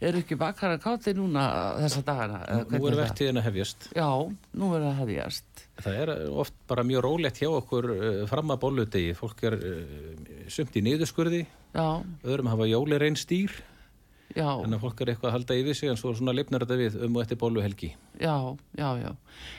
[SPEAKER 1] Eru ekki bakara kátti núna þessa dagana? eða
[SPEAKER 7] Nú
[SPEAKER 1] hvernig
[SPEAKER 7] er
[SPEAKER 1] það?
[SPEAKER 7] verktíðin að hefjast.
[SPEAKER 1] Já, nú er það hefjast.
[SPEAKER 7] Það er eh, oft bara mjög rólegt hjá okkur eh, fram að bolludegi. Fólk er eh, sumt í niðurskurði,
[SPEAKER 1] Já,
[SPEAKER 7] öðrum hafa jólirein stýr,
[SPEAKER 1] já,
[SPEAKER 7] þannig að fólk er eitthvað að halda yfir sig en svo svona lifnar þetta við um og eftir bolluhelgi.
[SPEAKER 1] já, já, já.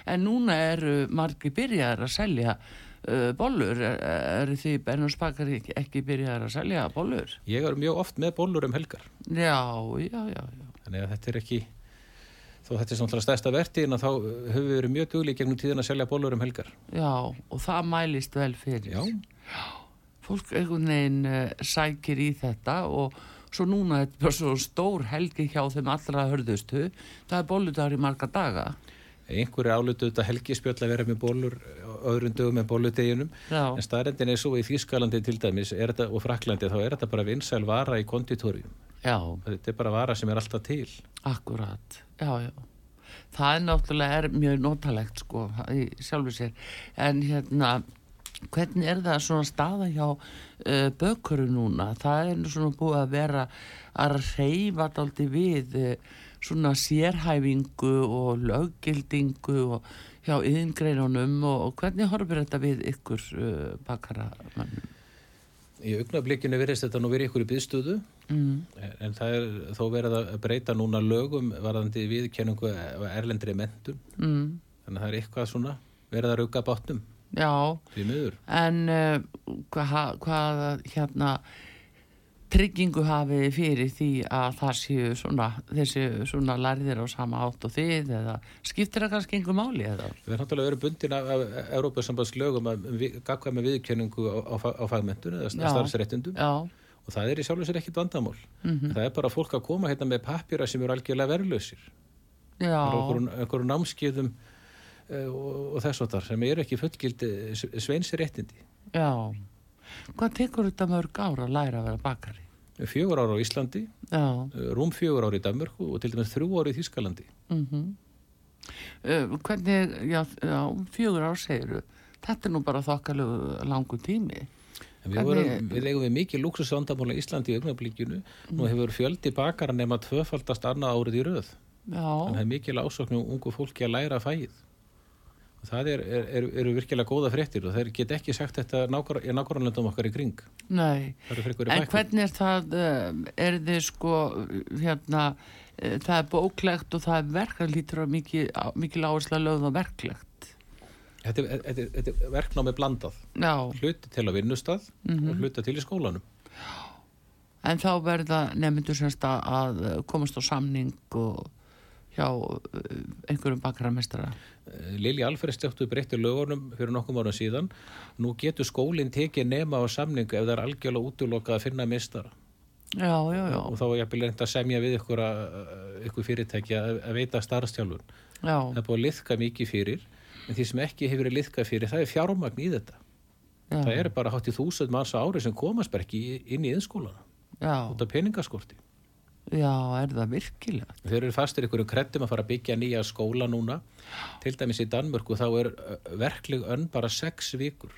[SPEAKER 1] En núna eru margir byrjaðar að selja uh, bollur. Er- Eru því Bernus bakari ekki- ekki byrjaðar að selja bollur?
[SPEAKER 7] Ég er mjög oft með bollur um helgar,
[SPEAKER 1] Já, já, já, já.
[SPEAKER 7] þannig að þetta er ekki... Þó þetta er svona stærsta verktíðin að þá eh, höfum við verið mjög dugli gegnum tíðin að selja bollur um helgar.
[SPEAKER 1] Já, og það mælist vel fyrir.
[SPEAKER 7] Já.
[SPEAKER 1] Fólk einhvern veginn uh, sækir í þetta og svo núna þetta er bara svo stór helgi hjá þeim allra hörðustu. Það er bolludagur í marga daga.
[SPEAKER 7] Einhverju álutu þetta helgispjöld að vera með bollur á öðrum dögum en bolludeginum.
[SPEAKER 1] Já,
[SPEAKER 7] En staðrendin er svo í Þýskalandi til dæmis er þetta, og Fraklandi þá er þetta bara vinsæl vara í konditórium.
[SPEAKER 1] já,
[SPEAKER 7] Þetta er bara vara sem er alltaf til.
[SPEAKER 1] akkurat. Já, já. Það er náttúrulega er mjög notalegt sko í sjálfu sér. En hérna, hvernig er það svona staða hjá uh, bökuru núna? Það er nú svona búið að vera að reyfa daldi við uh, svona sérhæfingu og löggildingu og hjá yðingreinunum og, og hvernig horfir þetta við ykkur uh, bakaramannum?
[SPEAKER 7] Í augnablikinu verðist þetta nú verið ykkur í byðstöðu
[SPEAKER 1] Mm.
[SPEAKER 7] en en það er þó verið að breyta núna lögum varðandi viðkenningu og erlendri mentum.
[SPEAKER 1] Mm.
[SPEAKER 7] Þannig að það er eitthvað svona verið að rauka bátnum
[SPEAKER 1] Já,
[SPEAKER 7] því miður.
[SPEAKER 1] En uh, hvað, hvað hérna tryggingu hafið þið fyrir því að það séu svona, þessi svona lærðir á sama átt og þið eða skiptir það kannski einhver máli eða?
[SPEAKER 7] Við erum náttúrulega verið bundin af, af Európa-sambands lögum að gagkvæma viðkenningu á, á, fa- á fagmentunum eða
[SPEAKER 1] Já.
[SPEAKER 7] starfsréttundum
[SPEAKER 1] Já,
[SPEAKER 7] og það er í sjálfur sér ekkit vandamál.
[SPEAKER 1] Mhm.
[SPEAKER 7] Það er bara fólk að koma hérna með pappýra sem eru algjörlega verðlausir.
[SPEAKER 1] já,
[SPEAKER 7] Það eru einhverjum námskiðum uh, og, og þess og þar sem eru ekki fullgild eh, sveinsréttindi.
[SPEAKER 1] já. Hvað tekur þetta mörg ára að læra að vera bakari?
[SPEAKER 7] fjögur ára á Íslandi,
[SPEAKER 1] já.
[SPEAKER 7] eh, rúm fjögur ára í Danmörku og til dæmis þrjú ára í Þískalandi.
[SPEAKER 1] Uh, hvernig, já, já, fjögur ár segiru, þetta er nú bara þokkalegu langu tími.
[SPEAKER 7] En Við,
[SPEAKER 1] Hvernig-
[SPEAKER 7] vorum, við eigum við mikið lúksusvandamála í Íslandi í augnablíkinu.
[SPEAKER 1] Mhm.
[SPEAKER 7] Nú hefur fjöldi bakara nema tvöfaldast annað árið í röð. En
[SPEAKER 1] Já,
[SPEAKER 7] það er mikil ásóknum ungu fólki að læra fæið. Og það er, er, er, eru virkilega góða fréttir og þeir get ekki sagt þetta nákvæm- í nákvæmlandum okkar í kring.
[SPEAKER 1] nei.
[SPEAKER 7] Það eru frekar í
[SPEAKER 1] En
[SPEAKER 7] bæknum.
[SPEAKER 1] hvernig er það, um, er þið sko, hérna, eh, það er bóklegt og það er verkalítur og mikil, á- mikil áhersla lögð og verklegt.
[SPEAKER 7] Þetta, er- þetta, er- þetta er verknámi blandað.
[SPEAKER 1] Já,
[SPEAKER 7] Hluti til að vinnustað og hluta til í skólanum.
[SPEAKER 1] en þá verða nefndur semst að- að komast á samning og hjá eh, einhverjum bakaramestara.
[SPEAKER 7] Eh, Lilja Alfredsdóttur breytti lögunum fyrir nokkum árum síðan. Nú getur skólinn tekið nema á samning ef það er algjörlega útlokað að finna mistara.
[SPEAKER 1] Já, já, já,
[SPEAKER 7] og þá er jafnvel reynd að semja við ykkur, að- ykkur fyrirtæki að, að veita starfstjálfun. Það
[SPEAKER 1] já,
[SPEAKER 7] er búið að liðka mikið fyrir, en því sem ekki hefur verið liðka fyrir, það er fjármagn í þetta. Það
[SPEAKER 1] já,
[SPEAKER 7] eru bara hátt í þúsund manns á ári sem komast bara ekki í- inn í innskólana,
[SPEAKER 1] já,
[SPEAKER 7] út af peningaskorti.
[SPEAKER 1] já, er það virkilega?
[SPEAKER 7] Þeir eru fastir ykkur um kreddum að fara að byggja nýja skóla núna. Til dæmis í Danmörku þá er ö, verkleg önn bara sex vikur.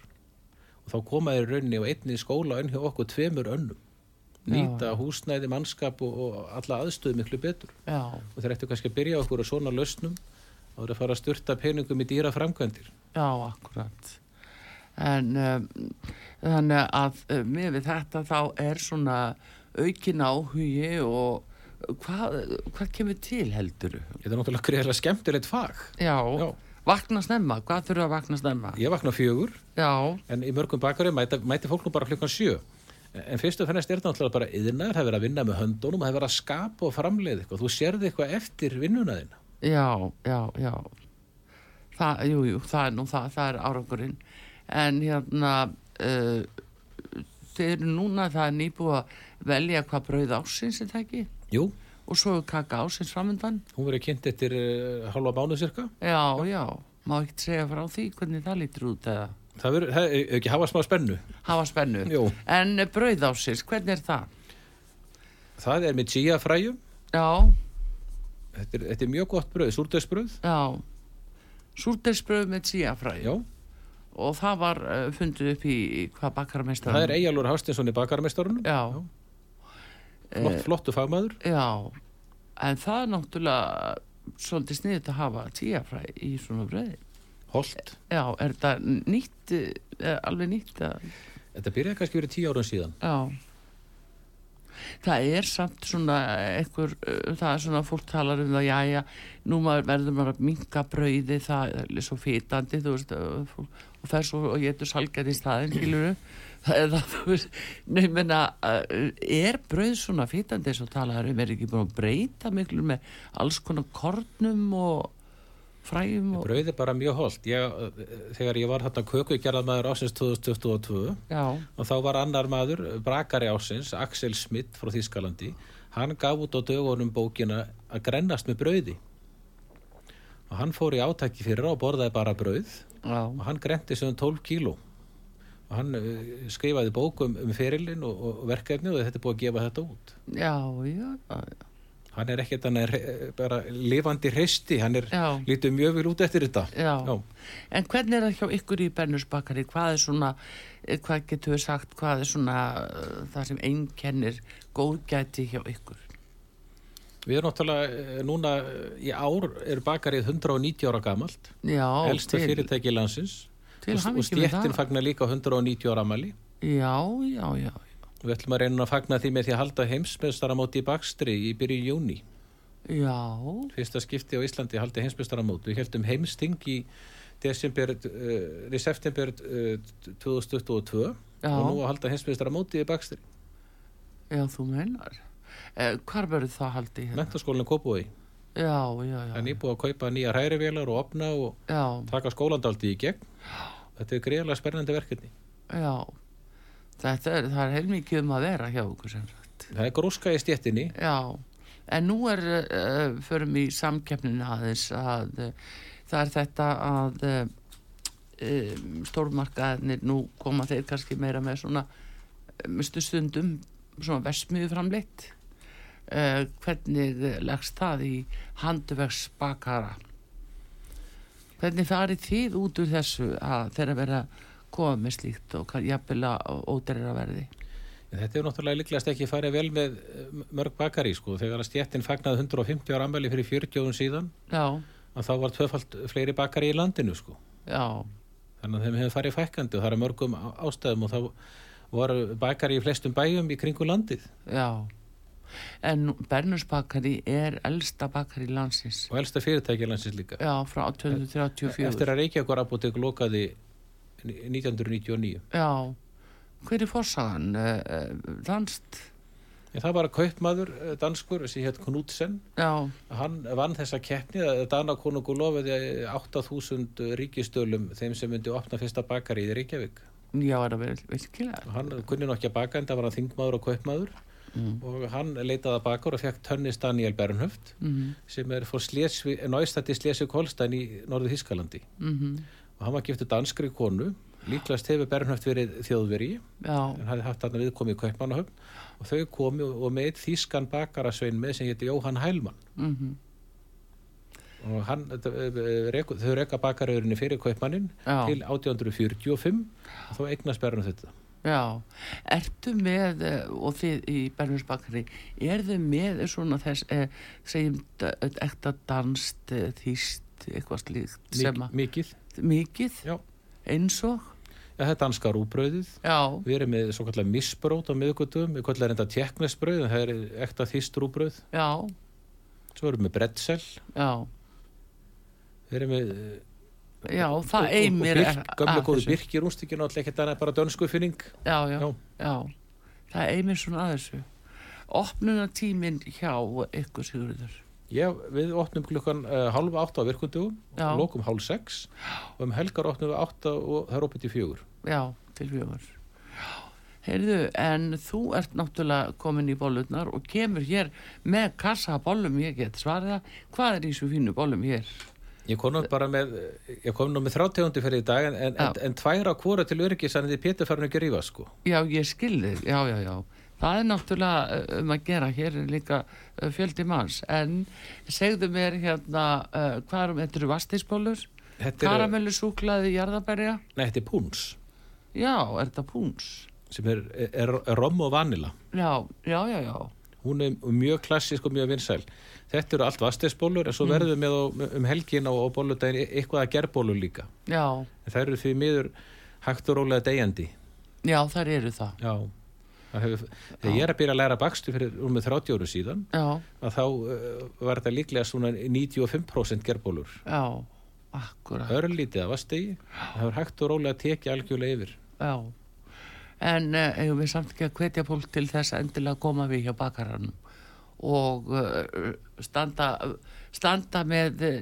[SPEAKER 7] Og þá koma þeir í raunni og einni skóla önn hjá okkur tveimur önnum. Nýta húsnæði, mannskap og, og alla aðstöðu miklu betur.
[SPEAKER 1] Já,
[SPEAKER 7] og þeir ættu kannski að byrja okkur á svona lausnum og þeir að fara að styrta peningum í dýra framkvæmdir.
[SPEAKER 1] já, akkurat. En um, þannig að um, með við þetta þá er svona aukin áhugi og uh, hvað, hvað kemur til heldur?
[SPEAKER 7] Þetta er náttúrulega greiðilega skemmtilegt fag.
[SPEAKER 1] Já,
[SPEAKER 7] Já.
[SPEAKER 1] vakna snemma, hvað þurfa að vakna snemma?
[SPEAKER 7] Ég vakna fjögur,
[SPEAKER 1] Já,
[SPEAKER 7] en í mörgum bakarum mæti, mæti fólk nú bara klukkan sjö. En fyrst og fennast er þetta náttúrulega bara yðnar, það er verið að vinna með höndunum, það er verið að skapa og framleiða eitthvað. Þú sérði eitthvað eftir vinnuna þína.
[SPEAKER 1] já, já, já. Það, jú, jú, það er nú það, það er árangurinn. En hérna, uh, þið eru núna það er nýbúið að velja hvað brauð ásins er það ekki?
[SPEAKER 7] Jú,
[SPEAKER 1] Og svo er kaka ásins framöndan?
[SPEAKER 7] hún verið kynnt eftir uh, halva mánuð cirka.
[SPEAKER 1] Já, já, má ekkert segja frá því hvernig það lítur út eða
[SPEAKER 7] Það verður, það er ekki hafa smá spennu.
[SPEAKER 1] hafa spennu.
[SPEAKER 7] Jú.
[SPEAKER 1] En brauð ásins, hvernig er það?
[SPEAKER 7] Það er með chia fræjum,
[SPEAKER 1] Já,
[SPEAKER 7] þetta er, þetta er mjög gott bröð, súrdöðsbröð,
[SPEAKER 1] já. Súrdeisbrauð með tíafræði.
[SPEAKER 7] já.
[SPEAKER 1] Og það var uh, fundið upp í í hvað bakkarmeistar.
[SPEAKER 7] Það er Eyjalur Hástinsson í bakarmeistarunum,
[SPEAKER 1] Já,
[SPEAKER 7] flott, flottu fagmaður.
[SPEAKER 1] já. En það er náttúrulega svolítið sniðið að hafa tíafræði í svona brauði.
[SPEAKER 7] Holt.
[SPEAKER 1] Já, er þetta nýtt, er alveg nýtt að...
[SPEAKER 7] Þetta byrjaði kannski verið tíu árum síðan.
[SPEAKER 1] Já. Það er samt svona einhver, uh, það er svona fólk talar um það, já, já, nú maður verður maður að minka brauði, það er svo fitandi, þú veist, uh, fólk, og það er svo, og ég getur salgjað í staðin, skilur það er það, þú veist, nefnina, er brauð svona fitandi eins og talar um, er ekki búin að breyta miklu með alls konar kornum og fræjum og,
[SPEAKER 7] Brauð er bara mjög holt. Ég, þegar ég var hérna kökugerðarmæður ásins 2022
[SPEAKER 1] já,
[SPEAKER 7] og þá var annar maður, brakari ásins, Axel Smith frá Þýskalandi, hann gaf út á dögunum bókina að grennast með brauði. Og hann fór í átaki fyrir og borðaði bara brauð
[SPEAKER 1] já,
[SPEAKER 7] og hann grenti sem 12 kíló. Og hann eh, skrifaði bók um, um ferilinn og, og verkefni og þetta er búið að gefa þetta út.
[SPEAKER 1] já, já, já,
[SPEAKER 7] Hann er ekkert hann er eh, bara lifandi hreisti, hann er
[SPEAKER 1] Já.
[SPEAKER 7] lítið mjög vel út eftir þetta.
[SPEAKER 1] Já.
[SPEAKER 7] Já.
[SPEAKER 1] en hvernig er það hjá ykkur í Bernusbakari, hvað er svona, eh, hvað getur við sagt, hvað er svona eh, það sem einkennir góðgæti hjá ykkur?
[SPEAKER 7] Við erum náttúrulega eh, núna eh, í ár er bakarið 190 ára gamalt,
[SPEAKER 1] Já,
[SPEAKER 7] elsta fyrirtæki landsins
[SPEAKER 1] til
[SPEAKER 7] og, og
[SPEAKER 1] hamingju með
[SPEAKER 7] stjættin
[SPEAKER 1] það.
[SPEAKER 7] fagnar líka 190 ára amali.
[SPEAKER 1] Já, já, já,
[SPEAKER 7] Við ætlum að reyna að fagna því með því að halda heimsmeistaramóti í bakstri í byrju júni.
[SPEAKER 1] já,
[SPEAKER 7] Fyrsta skipti á Íslandi haldi heimsmeistaramóti. Við heldum heimsting í desember, uh, í september uh, 2022
[SPEAKER 1] Já.
[SPEAKER 7] og nú að halda heimsmeistaramóti í bakstri.
[SPEAKER 1] já, þú meinar. Eh, hvar verður það haldið hérna?
[SPEAKER 7] Mentaskólinu Kópói.
[SPEAKER 1] Já, já,
[SPEAKER 7] Það er
[SPEAKER 1] já,
[SPEAKER 7] nýbúið að kaupa nýja hrærivélar og opna og
[SPEAKER 1] já,
[SPEAKER 7] taka skólandaldi í gegn. Þetta er greiðlega spennandi verkefni.
[SPEAKER 1] já, þetta er, það er heilmikið um að vera hjá ykkur sem sagt.
[SPEAKER 7] Það er gróska í stjettinni.
[SPEAKER 1] Já, en nú er, uh, förum í samkeppninu aðeins að uh, það er þetta að uh, um, stórmarkaðinir, nú koma þeir kannski meira með svona, uh, mistu eh, stundum svona versmiðu framleitt Eh, hvernig leggst það í handverksbakara hvernig farið þið út úr þessu að þeirra vera komið með slíkt og jafnvel að ódreira verði
[SPEAKER 7] En Þetta er náttúrulega líklegast ekki farið vel með eh, mörg bakari sko. Þegar að stjættin fagnaði 150 ára ammæli fyrir 40 árum síðan
[SPEAKER 1] já,
[SPEAKER 7] að þá var tvöfalt fleiri bakari í landinu sko.
[SPEAKER 1] já,
[SPEAKER 7] Þannig að þeim hefur farið fækkandi og það er af mörgum á- ástæðum og þá voru bakari í flestum bæjum í kringu landið
[SPEAKER 1] já en Bernusbakari er elsta bakari landsins
[SPEAKER 7] og elsta fyrirtæki landsins líka.
[SPEAKER 1] já, frá 1834
[SPEAKER 7] Eftir að Reykjavíkur apotek lokaði ni- 1999.
[SPEAKER 1] já, hver er fórsagan uh, landst
[SPEAKER 7] En það var að kaupmaður eh, danskur sem hétt Knudsen
[SPEAKER 1] já,
[SPEAKER 7] Hann vann þessa keppni að Danakonungu lofiði 8000 ríkistölum þeim sem myndi opna fyrsta bakari í Reykjavík.
[SPEAKER 1] já, er það verið virkilega
[SPEAKER 7] Hann kunni nokkja baka en það var hann þingmaður og kaupmaður og hann leitaði að bakar og fekk tönnis Daniel Bernhöft
[SPEAKER 1] Mhm.
[SPEAKER 7] sem er fór Slesvi, náistætti Slesvík Holstein í Norðu Þískalandi
[SPEAKER 1] mm
[SPEAKER 7] og hann var giftu danskri konu líklast hefur Bernhöft verið þjóðveri
[SPEAKER 1] já,
[SPEAKER 7] en hafði haft hann viðkomi í kaupmannahöfn og þau komi og, og með einn þískan bakarasvein með sem héti Jóhann Hælmann
[SPEAKER 1] mhm
[SPEAKER 7] og hann, þetta, eh, reku, þau reka bakaraurinni fyrir kaupmannin
[SPEAKER 1] Já.
[SPEAKER 7] til 1845 og þá eignast Bernhöft þetta
[SPEAKER 1] Já, ertu með eh, og þið í Bernhurs Bakari erðu með svona þess eh, segjum d- ekta danst eh, þýst eitthvað slíkt
[SPEAKER 7] Mik,
[SPEAKER 1] sem að
[SPEAKER 7] mikið
[SPEAKER 1] mikið
[SPEAKER 7] Já.
[SPEAKER 1] eins og
[SPEAKER 7] Ja, þetta er danska rúbröðið.
[SPEAKER 1] já,
[SPEAKER 7] Við erum með svo kallar misbrót á miðgutum, við kallar reynda tjekknesbröð, en það er ekta þýst rúbröð.
[SPEAKER 1] já,
[SPEAKER 7] Svo erum við með brettsel,
[SPEAKER 1] já
[SPEAKER 7] við erum með...
[SPEAKER 1] já, það eimir
[SPEAKER 7] er... Gömlega góðu byrkir únstíkinu, alltaf ekki þannig bara dönsku finning.
[SPEAKER 1] já, já,
[SPEAKER 7] Já.
[SPEAKER 1] já, það eimir svona að þessu opnuna tíminn hjá ykkur Sigurður
[SPEAKER 7] Já, við opnum klukkan uh, halva átta á virkundugum,
[SPEAKER 1] Já.
[SPEAKER 7] lokum hálf sex og um helgar opnum við átta og það er opið til fjögur.
[SPEAKER 1] Já, til fjögur. Heyrðu, en þú ert náttúrulega komin í bollurnar og kemur hér með kassa af bollum, ég get svarið það. Hvað er í svo fínu bollum hér?
[SPEAKER 7] Ég kom nú bara með, ég kom nú með þráttegundi fyrir í dag en, en,
[SPEAKER 1] Já.
[SPEAKER 7] en, en tværa kvora til öryggis hann er Pétur farin ekki að rífa sko.
[SPEAKER 1] Já, ég skilði, já, já, já. Það er náttúrulega uh, um að gera hér er líka uh, fjöldi manns. En segðu mér hérna, uh, hvað erum, þetta eru vastisbollur?
[SPEAKER 7] Þetta er,
[SPEAKER 1] Karamellu súklaði jarðaberja?
[SPEAKER 7] nei, þetta er púns
[SPEAKER 1] Já, er þetta púns?
[SPEAKER 7] sem er, er, er rom og vanila.
[SPEAKER 1] Já, já, já, já.
[SPEAKER 7] Hún er mjög klassísk og mjög vinsæl. Þetta eru allt vastisbólur
[SPEAKER 1] Mm.
[SPEAKER 7] en svo verðum við með á, um helgin og, og bóludaginn eitthvað að gerbólu líka.
[SPEAKER 1] Já,
[SPEAKER 7] En það eru því miður hægt og rólega degjandi.
[SPEAKER 1] já, þar eru það.
[SPEAKER 7] Já. Hefur, þegar ég er að byrja að læra bakstu fyrir um 30 áru síðan
[SPEAKER 1] Já,
[SPEAKER 7] að þá uh, var þetta líklega svona 95% gerbólur.
[SPEAKER 1] já, akkurat.
[SPEAKER 7] Örlítið að vastegi. Það er hægt og rólega að tekja algjörlega yfir.
[SPEAKER 1] Já, en uh, eigum við samt ekki að hvetja fólk til þess að endilega koma við hjá bakaranum og uh, standa, standa með uh,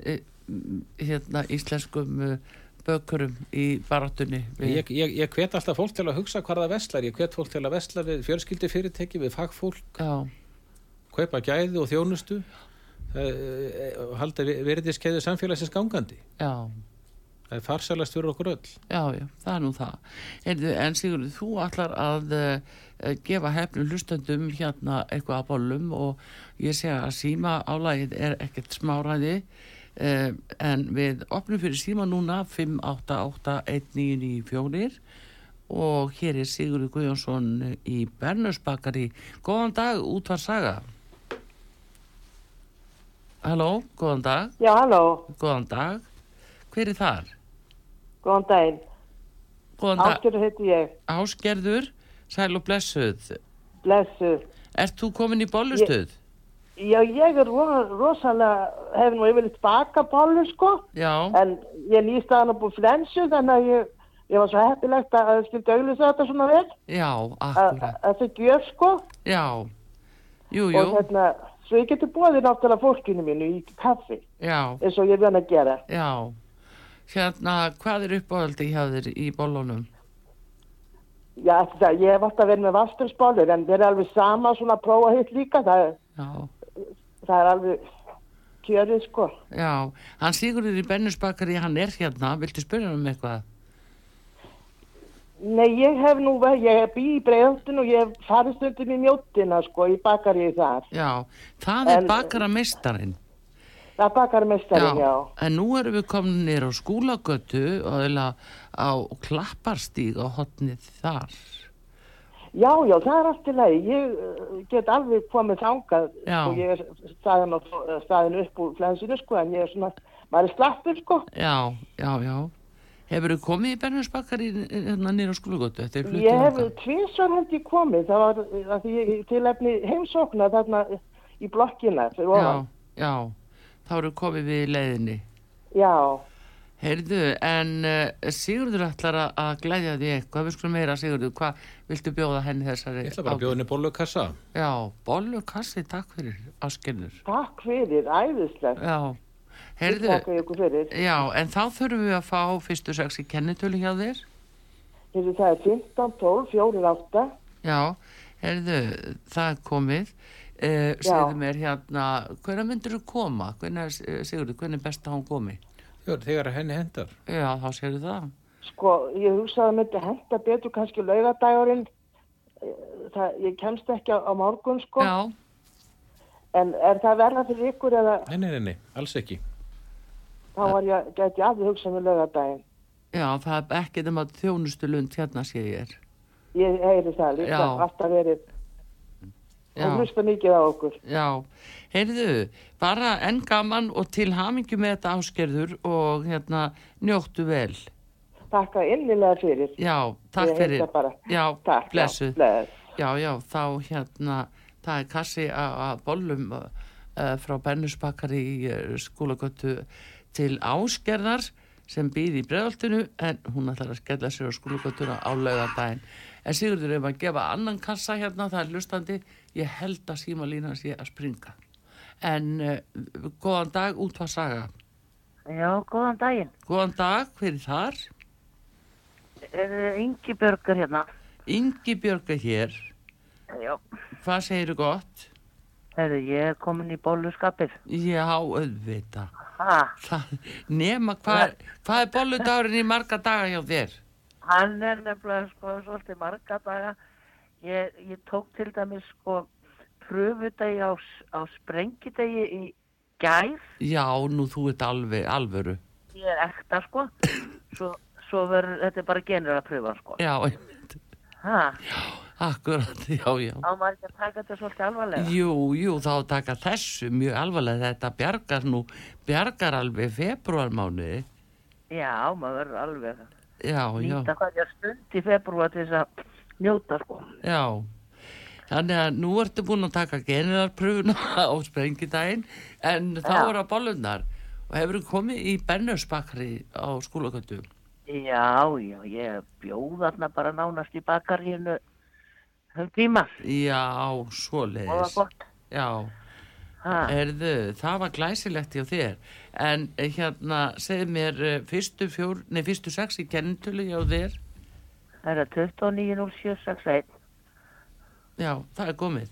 [SPEAKER 1] hérna íslenskum uh, bökurum í baráttunni. við-
[SPEAKER 7] Ég, ég, ég hvet alltaf fólk til að hugsa hvað það veslar. Ég hvet fólk til að vesla við fjölskyldi við fagfólk,
[SPEAKER 1] Já,
[SPEAKER 7] kaupa gæði og þjónustu eh, og halda vi- virðiskeiðu samfélagsins gangandi.
[SPEAKER 1] já,
[SPEAKER 7] Það er farsælast fyrir okkur öll.
[SPEAKER 1] já, já, það er nú það. Heyrðu, en Sigurður, þú allar að uh, gefa hefnum hlustendum hérna eitthvað að bollum og ég segja að síma álægið er ekkert smáræði uh, en við opnum fyrir síma núna 5881994 og hér er Sigurður Guðjónsson í Bernusbakari. Góðan dag, útvar saga. Halló, góðan dag,
[SPEAKER 8] Já, halló,
[SPEAKER 1] góðan dag. Hver er þar?
[SPEAKER 8] góðan daginn.
[SPEAKER 1] Góðan dag.
[SPEAKER 8] Ástur heiti ég,
[SPEAKER 1] Ásgerður, sæl og blessuð.
[SPEAKER 8] blessuð.
[SPEAKER 1] Ert þú komin í bollustuð?
[SPEAKER 8] Já, ég er ro- rosalega, hef nú yfirleitt bakabólu, sko,
[SPEAKER 1] Já,
[SPEAKER 8] en ég nýst að hann upp úr flensu, þannig að ég, ég var svo heppilegt að það skildi auðvitað þetta svona vel,
[SPEAKER 1] já,
[SPEAKER 8] að
[SPEAKER 1] akkurat,
[SPEAKER 8] að þetta gjöf, sko,
[SPEAKER 1] já, jú,
[SPEAKER 8] og
[SPEAKER 1] jú,
[SPEAKER 8] hérna, svo ég geti bóðið náttúrulega fólkinu mínu í kaffi,
[SPEAKER 1] já,
[SPEAKER 8] eins og ég vana að gera.
[SPEAKER 1] já. Hérna, hvað er uppáhaldi hjá þér í bollunum?
[SPEAKER 8] Já, þetta, ég hef alltaf verið með vastursbólur, en við erum alveg sama svona að prófa hitt líka, það, er-
[SPEAKER 1] Já,
[SPEAKER 8] það er alveg kjörið, sko.
[SPEAKER 1] já, hann Sigurður í Bennusbakari, hann er hérna, viltu spyrja hann um eitthvað?
[SPEAKER 8] Nei, ég hef nú, ver- ég hef bý í breiðholtin og ég hef farið stundum í mjóttina, sko, í bakarið þar.
[SPEAKER 1] Já, það er
[SPEAKER 8] En-
[SPEAKER 1] bakara meistarinn.
[SPEAKER 8] Það bakar mestarinn, já.
[SPEAKER 1] En nú erum við komin nýr á skúlagötu og eiginlega á klapparstíg á hotnið þar.
[SPEAKER 8] Já, já, það er allt í lagi. Ég uh, get alveg komið þangað
[SPEAKER 1] Já.
[SPEAKER 8] og ég er staðin, á, staðin upp úr flensinu, sko, en ég er svona, maður er slappur, sko.
[SPEAKER 1] Já, já, já. Hefur þið komið í Bernhansbakari hérna nýr á skúlagötu? Þetta er fluttur
[SPEAKER 8] Ég hef
[SPEAKER 1] þangað.
[SPEAKER 8] tvisvar held ég komið, það var uh, að því ég tilefni heimsókna þarna í blokkina fyrir ofan.
[SPEAKER 1] Já, já. Þá eru komið við í leiðinni.
[SPEAKER 8] Já,
[SPEAKER 1] Heyrðu, en uh, Sigurður ætlar að- að glæðja því eitthvað. Við skulum meira Sigurður, hvað viltu bjóða henni þessari?
[SPEAKER 7] Ég ætla bara að bjóða henni bollukassa.
[SPEAKER 1] Já, bollur kassi, takk fyrir, áskennur.
[SPEAKER 8] takk fyrir, æðislegt.
[SPEAKER 1] Já,
[SPEAKER 8] Ég
[SPEAKER 1] heyrðu,
[SPEAKER 8] Takk ykkur fyrir.
[SPEAKER 1] já, en þá þurfum við að fá fyrstu sexi kennitölu hjá þér.
[SPEAKER 8] Heyrðu, það er 15, 12, 4, 8.
[SPEAKER 1] Já, heyrðu, það er komið. Uh, segðu mér hérna, hvernig myndur þú koma? Hvernig, Sigurður, hvernig er best að hún komi?
[SPEAKER 7] Jú, Þegar henni hendar.
[SPEAKER 1] Já, þá segðu það.
[SPEAKER 8] Sko, ég hugsaði að myndi henda betur kannski laugardagurinn. Það, ég kemst ekki á, á morgun, sko.
[SPEAKER 1] Já,
[SPEAKER 8] En er það verða fyrir ykkur eða
[SPEAKER 7] Nei, nei, nei, nei, alls ekki.
[SPEAKER 8] þá var ég, gæti ég alveg hugsað með laugardaginn.
[SPEAKER 1] já, það er ekki þeim að þjónustu lund hérna sé ég er.
[SPEAKER 8] Ég heyri það líka,
[SPEAKER 1] Já.
[SPEAKER 8] alltaf verið.
[SPEAKER 1] Já.
[SPEAKER 8] Og hlusta mikið á okkur.
[SPEAKER 1] Já, heyrðu, bara enn gaman og til hamingju með þetta áskerður og hérna, njóttu vel.
[SPEAKER 8] Takka innilega fyrir.
[SPEAKER 1] Já, takk
[SPEAKER 8] Ég heita
[SPEAKER 1] fyrir.
[SPEAKER 8] bara.
[SPEAKER 1] Já,
[SPEAKER 8] Takk. já,
[SPEAKER 1] blessuð.
[SPEAKER 8] Bless.
[SPEAKER 1] Já, já, þá hérna, það er kassi a- að bollum uh, frá Bennusbakari í uh, skólagötu til áskerðar sem býði í breðaltinu en hún ætlar að skella sér á skólagötuna á laugardaginn. En Sigurður, ef maður gefa annan kassa hérna, það er lustandi, ég held að síma lína sé að springa. En uh, góðan dag, útvað saga.
[SPEAKER 2] Já, góðan daginn.
[SPEAKER 1] Góðan dag, hver er þar?
[SPEAKER 2] Er yngi börgur hérna?
[SPEAKER 1] Ingi Björg er hér.
[SPEAKER 2] Já.
[SPEAKER 1] Hvað segirðu gott?
[SPEAKER 2] Herðu, ég er komin í bóluskapið.
[SPEAKER 1] Já, auðvitað.
[SPEAKER 2] Ha,
[SPEAKER 1] Það, nema hvað, hvað er bolludagurinn í marga daga hjá þér?
[SPEAKER 2] hann er nefnilega sko svolítið marga daga. Ég, ég tók til dæmis sko pröfudegi á, s- á sprengidegi í gær.
[SPEAKER 1] Já, nú þú ert alveg, alvöru.
[SPEAKER 2] Ég er ekta sko. Svo, svo verður, þetta er bara genur að pröfa sko.
[SPEAKER 1] Já, einmitt.
[SPEAKER 2] Ha,
[SPEAKER 1] akkurat, já, já.
[SPEAKER 2] á maður ekki að taka þetta svolítið alvarlega.
[SPEAKER 1] Jú, jú, þá að taka þessu mjög alvarlega. Þetta bjargar nú, bjargar alveg februarmánuði.
[SPEAKER 2] Já, maður verður alveg að
[SPEAKER 1] Já, já,
[SPEAKER 2] nýta hvað ég stund í februar til þess að njóta sko.
[SPEAKER 1] já. Þannig að nú ertu búin að taka generalpröfuna á sprengidaginn en þá
[SPEAKER 2] Já.
[SPEAKER 1] eru að bollunar og hefur komið í Bennusbakri á skólagötu.
[SPEAKER 2] Já, já, ég bjóð þarna bara nánast í bakarínu um tíma.
[SPEAKER 1] Já,
[SPEAKER 2] Og það var
[SPEAKER 1] svoleiðis.
[SPEAKER 2] gott.
[SPEAKER 1] Já,
[SPEAKER 2] Ha,
[SPEAKER 1] erðu, það var glæsilegt hjá þér, en eh, hérna, segð mér, eh, fyrstu fjór, nei, fyrstu sex í kennitölu hjá þér,
[SPEAKER 2] það er 29.07.61.
[SPEAKER 1] já, það er komið.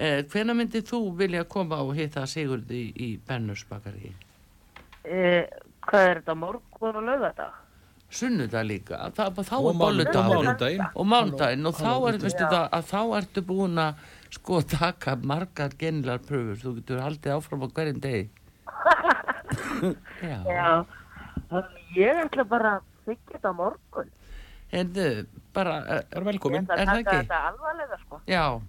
[SPEAKER 1] Eh, hvena myndið þú vilja koma og hitta Sigurði í, í Bennusbakari?
[SPEAKER 2] E, hvað er þetta morgun og laugardag?
[SPEAKER 1] Sunnudag líka, það, þá
[SPEAKER 7] Og
[SPEAKER 1] er
[SPEAKER 7] mánu- og
[SPEAKER 1] bolludagurinn.
[SPEAKER 7] mánudaginn.
[SPEAKER 1] og mánudaginn og þá, er, veistu, það, að þá ertu búin að sko taka margar genilar pröfur þú getur haldið áfram á hverjum degi já,
[SPEAKER 2] Já, það- ég ætla bara að byggja þetta á morgun.
[SPEAKER 1] en þau bara eh,
[SPEAKER 7] Það er
[SPEAKER 2] Ég
[SPEAKER 7] velkomin.
[SPEAKER 2] ætla
[SPEAKER 1] Er
[SPEAKER 2] að
[SPEAKER 1] það
[SPEAKER 2] taka
[SPEAKER 1] ekki?
[SPEAKER 2] þetta alvarlega sko.
[SPEAKER 1] já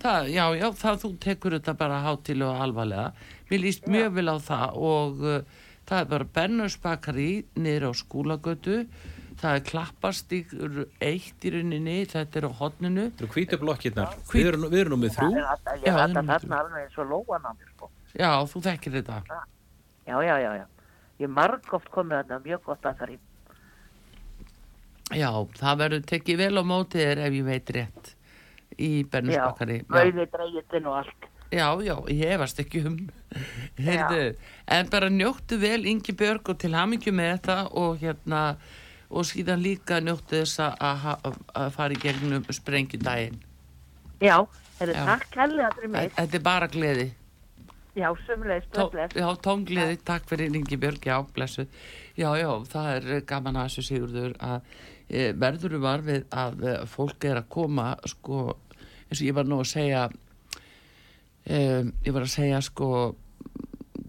[SPEAKER 1] það, já, já, það þú tekur þetta bara hátil og alvarlega mér líst mjög vel á það og uh, það er bara Bennus Bakari niður á skúlagötu það er klapparstíkur eitt í rauninni, þetta er á hodninu
[SPEAKER 7] Þú hvítu blokkirnar.
[SPEAKER 1] Hvít-
[SPEAKER 7] Við erum, við erum nummið
[SPEAKER 2] Það
[SPEAKER 7] þrjú.
[SPEAKER 2] er alltaf,
[SPEAKER 1] Já,
[SPEAKER 2] ég ætla
[SPEAKER 1] það er
[SPEAKER 2] þarna alveg eins og lóan á mér sko.
[SPEAKER 1] já, þú þekkir þetta
[SPEAKER 2] Já, já, já, já. Ég marg oft komið þarna mjög gott bakarí.
[SPEAKER 1] Já, það verður tekið vel á mótið þér ef ég veit rétt í
[SPEAKER 2] Já,
[SPEAKER 1] Bernusbakari. Já,
[SPEAKER 2] rauði dreigitinn og allt.
[SPEAKER 1] já, já, ég hefast ekki um. Heyrðu, en bara njóttu vel Ingi Björg og til hamingju með þetta og hérna og síðan líka njóttu þess að- að ha- að fara í gegnum sprengjudaginn.
[SPEAKER 2] Já, það er
[SPEAKER 1] Já.
[SPEAKER 2] takk helga fyrir mig.
[SPEAKER 1] Þetta er bara gleði.
[SPEAKER 2] Já, sömulegis,
[SPEAKER 1] Tó-
[SPEAKER 2] blöðblöð.
[SPEAKER 1] Já, tóngleði, takk fyrir Ingi Björg, já, blessu. Já, já, það er gaman að þessu Sigurður að eh, verður var við að eh, fólk er að koma sko, eins og ég var nú að segja um, ég var að segja sko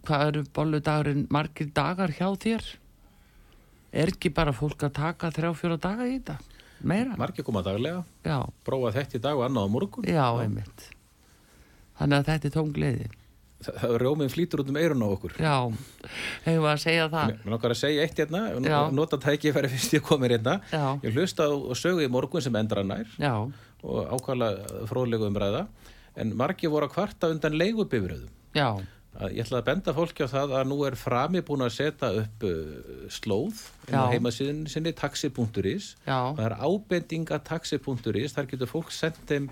[SPEAKER 1] hvað eru bolludagurinn margir dagar hjá þér er ekki bara fólk að taka þrjá fjóra daga í þetta meira,
[SPEAKER 7] Margir koma daglega,
[SPEAKER 1] já,
[SPEAKER 7] prófa þetta í dag og annað á morgun.
[SPEAKER 1] já, einmitt þannig að þetta er tóm gleði
[SPEAKER 7] Það, það rjóminn flýtur út um eirun á okkur.
[SPEAKER 1] já, hefur var að segja það
[SPEAKER 7] Mér mér langar að segja eitt hérna, ég
[SPEAKER 1] Já.
[SPEAKER 7] nota tækifæri fyrst ég komir hérna.
[SPEAKER 1] Já.
[SPEAKER 7] Ég hlusta á sögu í morgun sem endra nær
[SPEAKER 1] já,
[SPEAKER 7] og ákvæmlega fróðlegu umræða, en margir voru að kvarta undan leigubifröðum.
[SPEAKER 1] já,
[SPEAKER 7] Að Ég ætla að benda fólki á það að nú er frami búin að setja upp uh, slóð inn á
[SPEAKER 1] Já.
[SPEAKER 7] heimasíðin sinni taxi.is
[SPEAKER 1] já
[SPEAKER 7] og það er ábending að taxi.is, þar getur fólk sendt þeim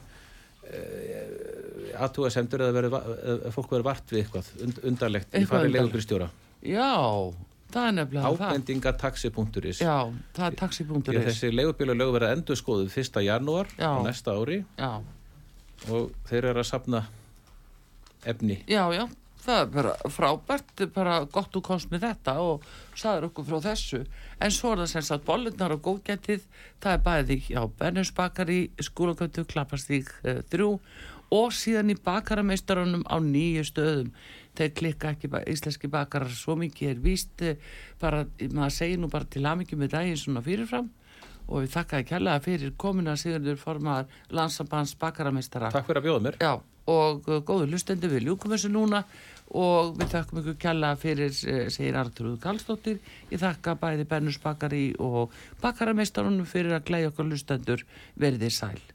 [SPEAKER 7] uh, aðtúasendur eða verið, va- eða fólk verið vart við eitthvað und, undarlegt í
[SPEAKER 1] Eitthvað
[SPEAKER 7] farið
[SPEAKER 1] undarlegt.
[SPEAKER 7] leigubristjóra.
[SPEAKER 1] já, það er nefnilega það
[SPEAKER 7] Ábending að taxi.is.
[SPEAKER 1] já, það er
[SPEAKER 7] Því að
[SPEAKER 1] taxi.is
[SPEAKER 7] þessi leigubíla lög verða endur skoðuð 1. janúar
[SPEAKER 1] Já.
[SPEAKER 7] á næsta ári
[SPEAKER 1] já,
[SPEAKER 7] og þeir eru að safna efni.
[SPEAKER 1] já, já Það er bara frábært, bara gott þú komst með þetta og sagður okkur frá þessu. En svo er það sem sagt bollunar og góðgætið, það er bæði hjá Bennusbakari, skólagötu, klappastík eh, þrjú og síðan í bakarameistaranum á nýju stöðum. Þeir klikka ekki ba íslenski bakarar svo mikið er víst, eh, bara, maður segir nú bara til aðmyggjum með daginn svona fyrirfram og við þakkaði kærlega fyrir komuna Sigurður formaðar landsambands bakarameistara.
[SPEAKER 7] Takk fyrir að bjóða mér.
[SPEAKER 1] Já, og uh, góðu lustendur við ljúkum þessu núna og við þakkum ykkur kjalla fyrir, eh, segir Artrúð Karlsdóttir. Ég þakka bæði Bennus Bakari og Bakarameistaranum fyrir að glæja okkur lustendur verðið sæl.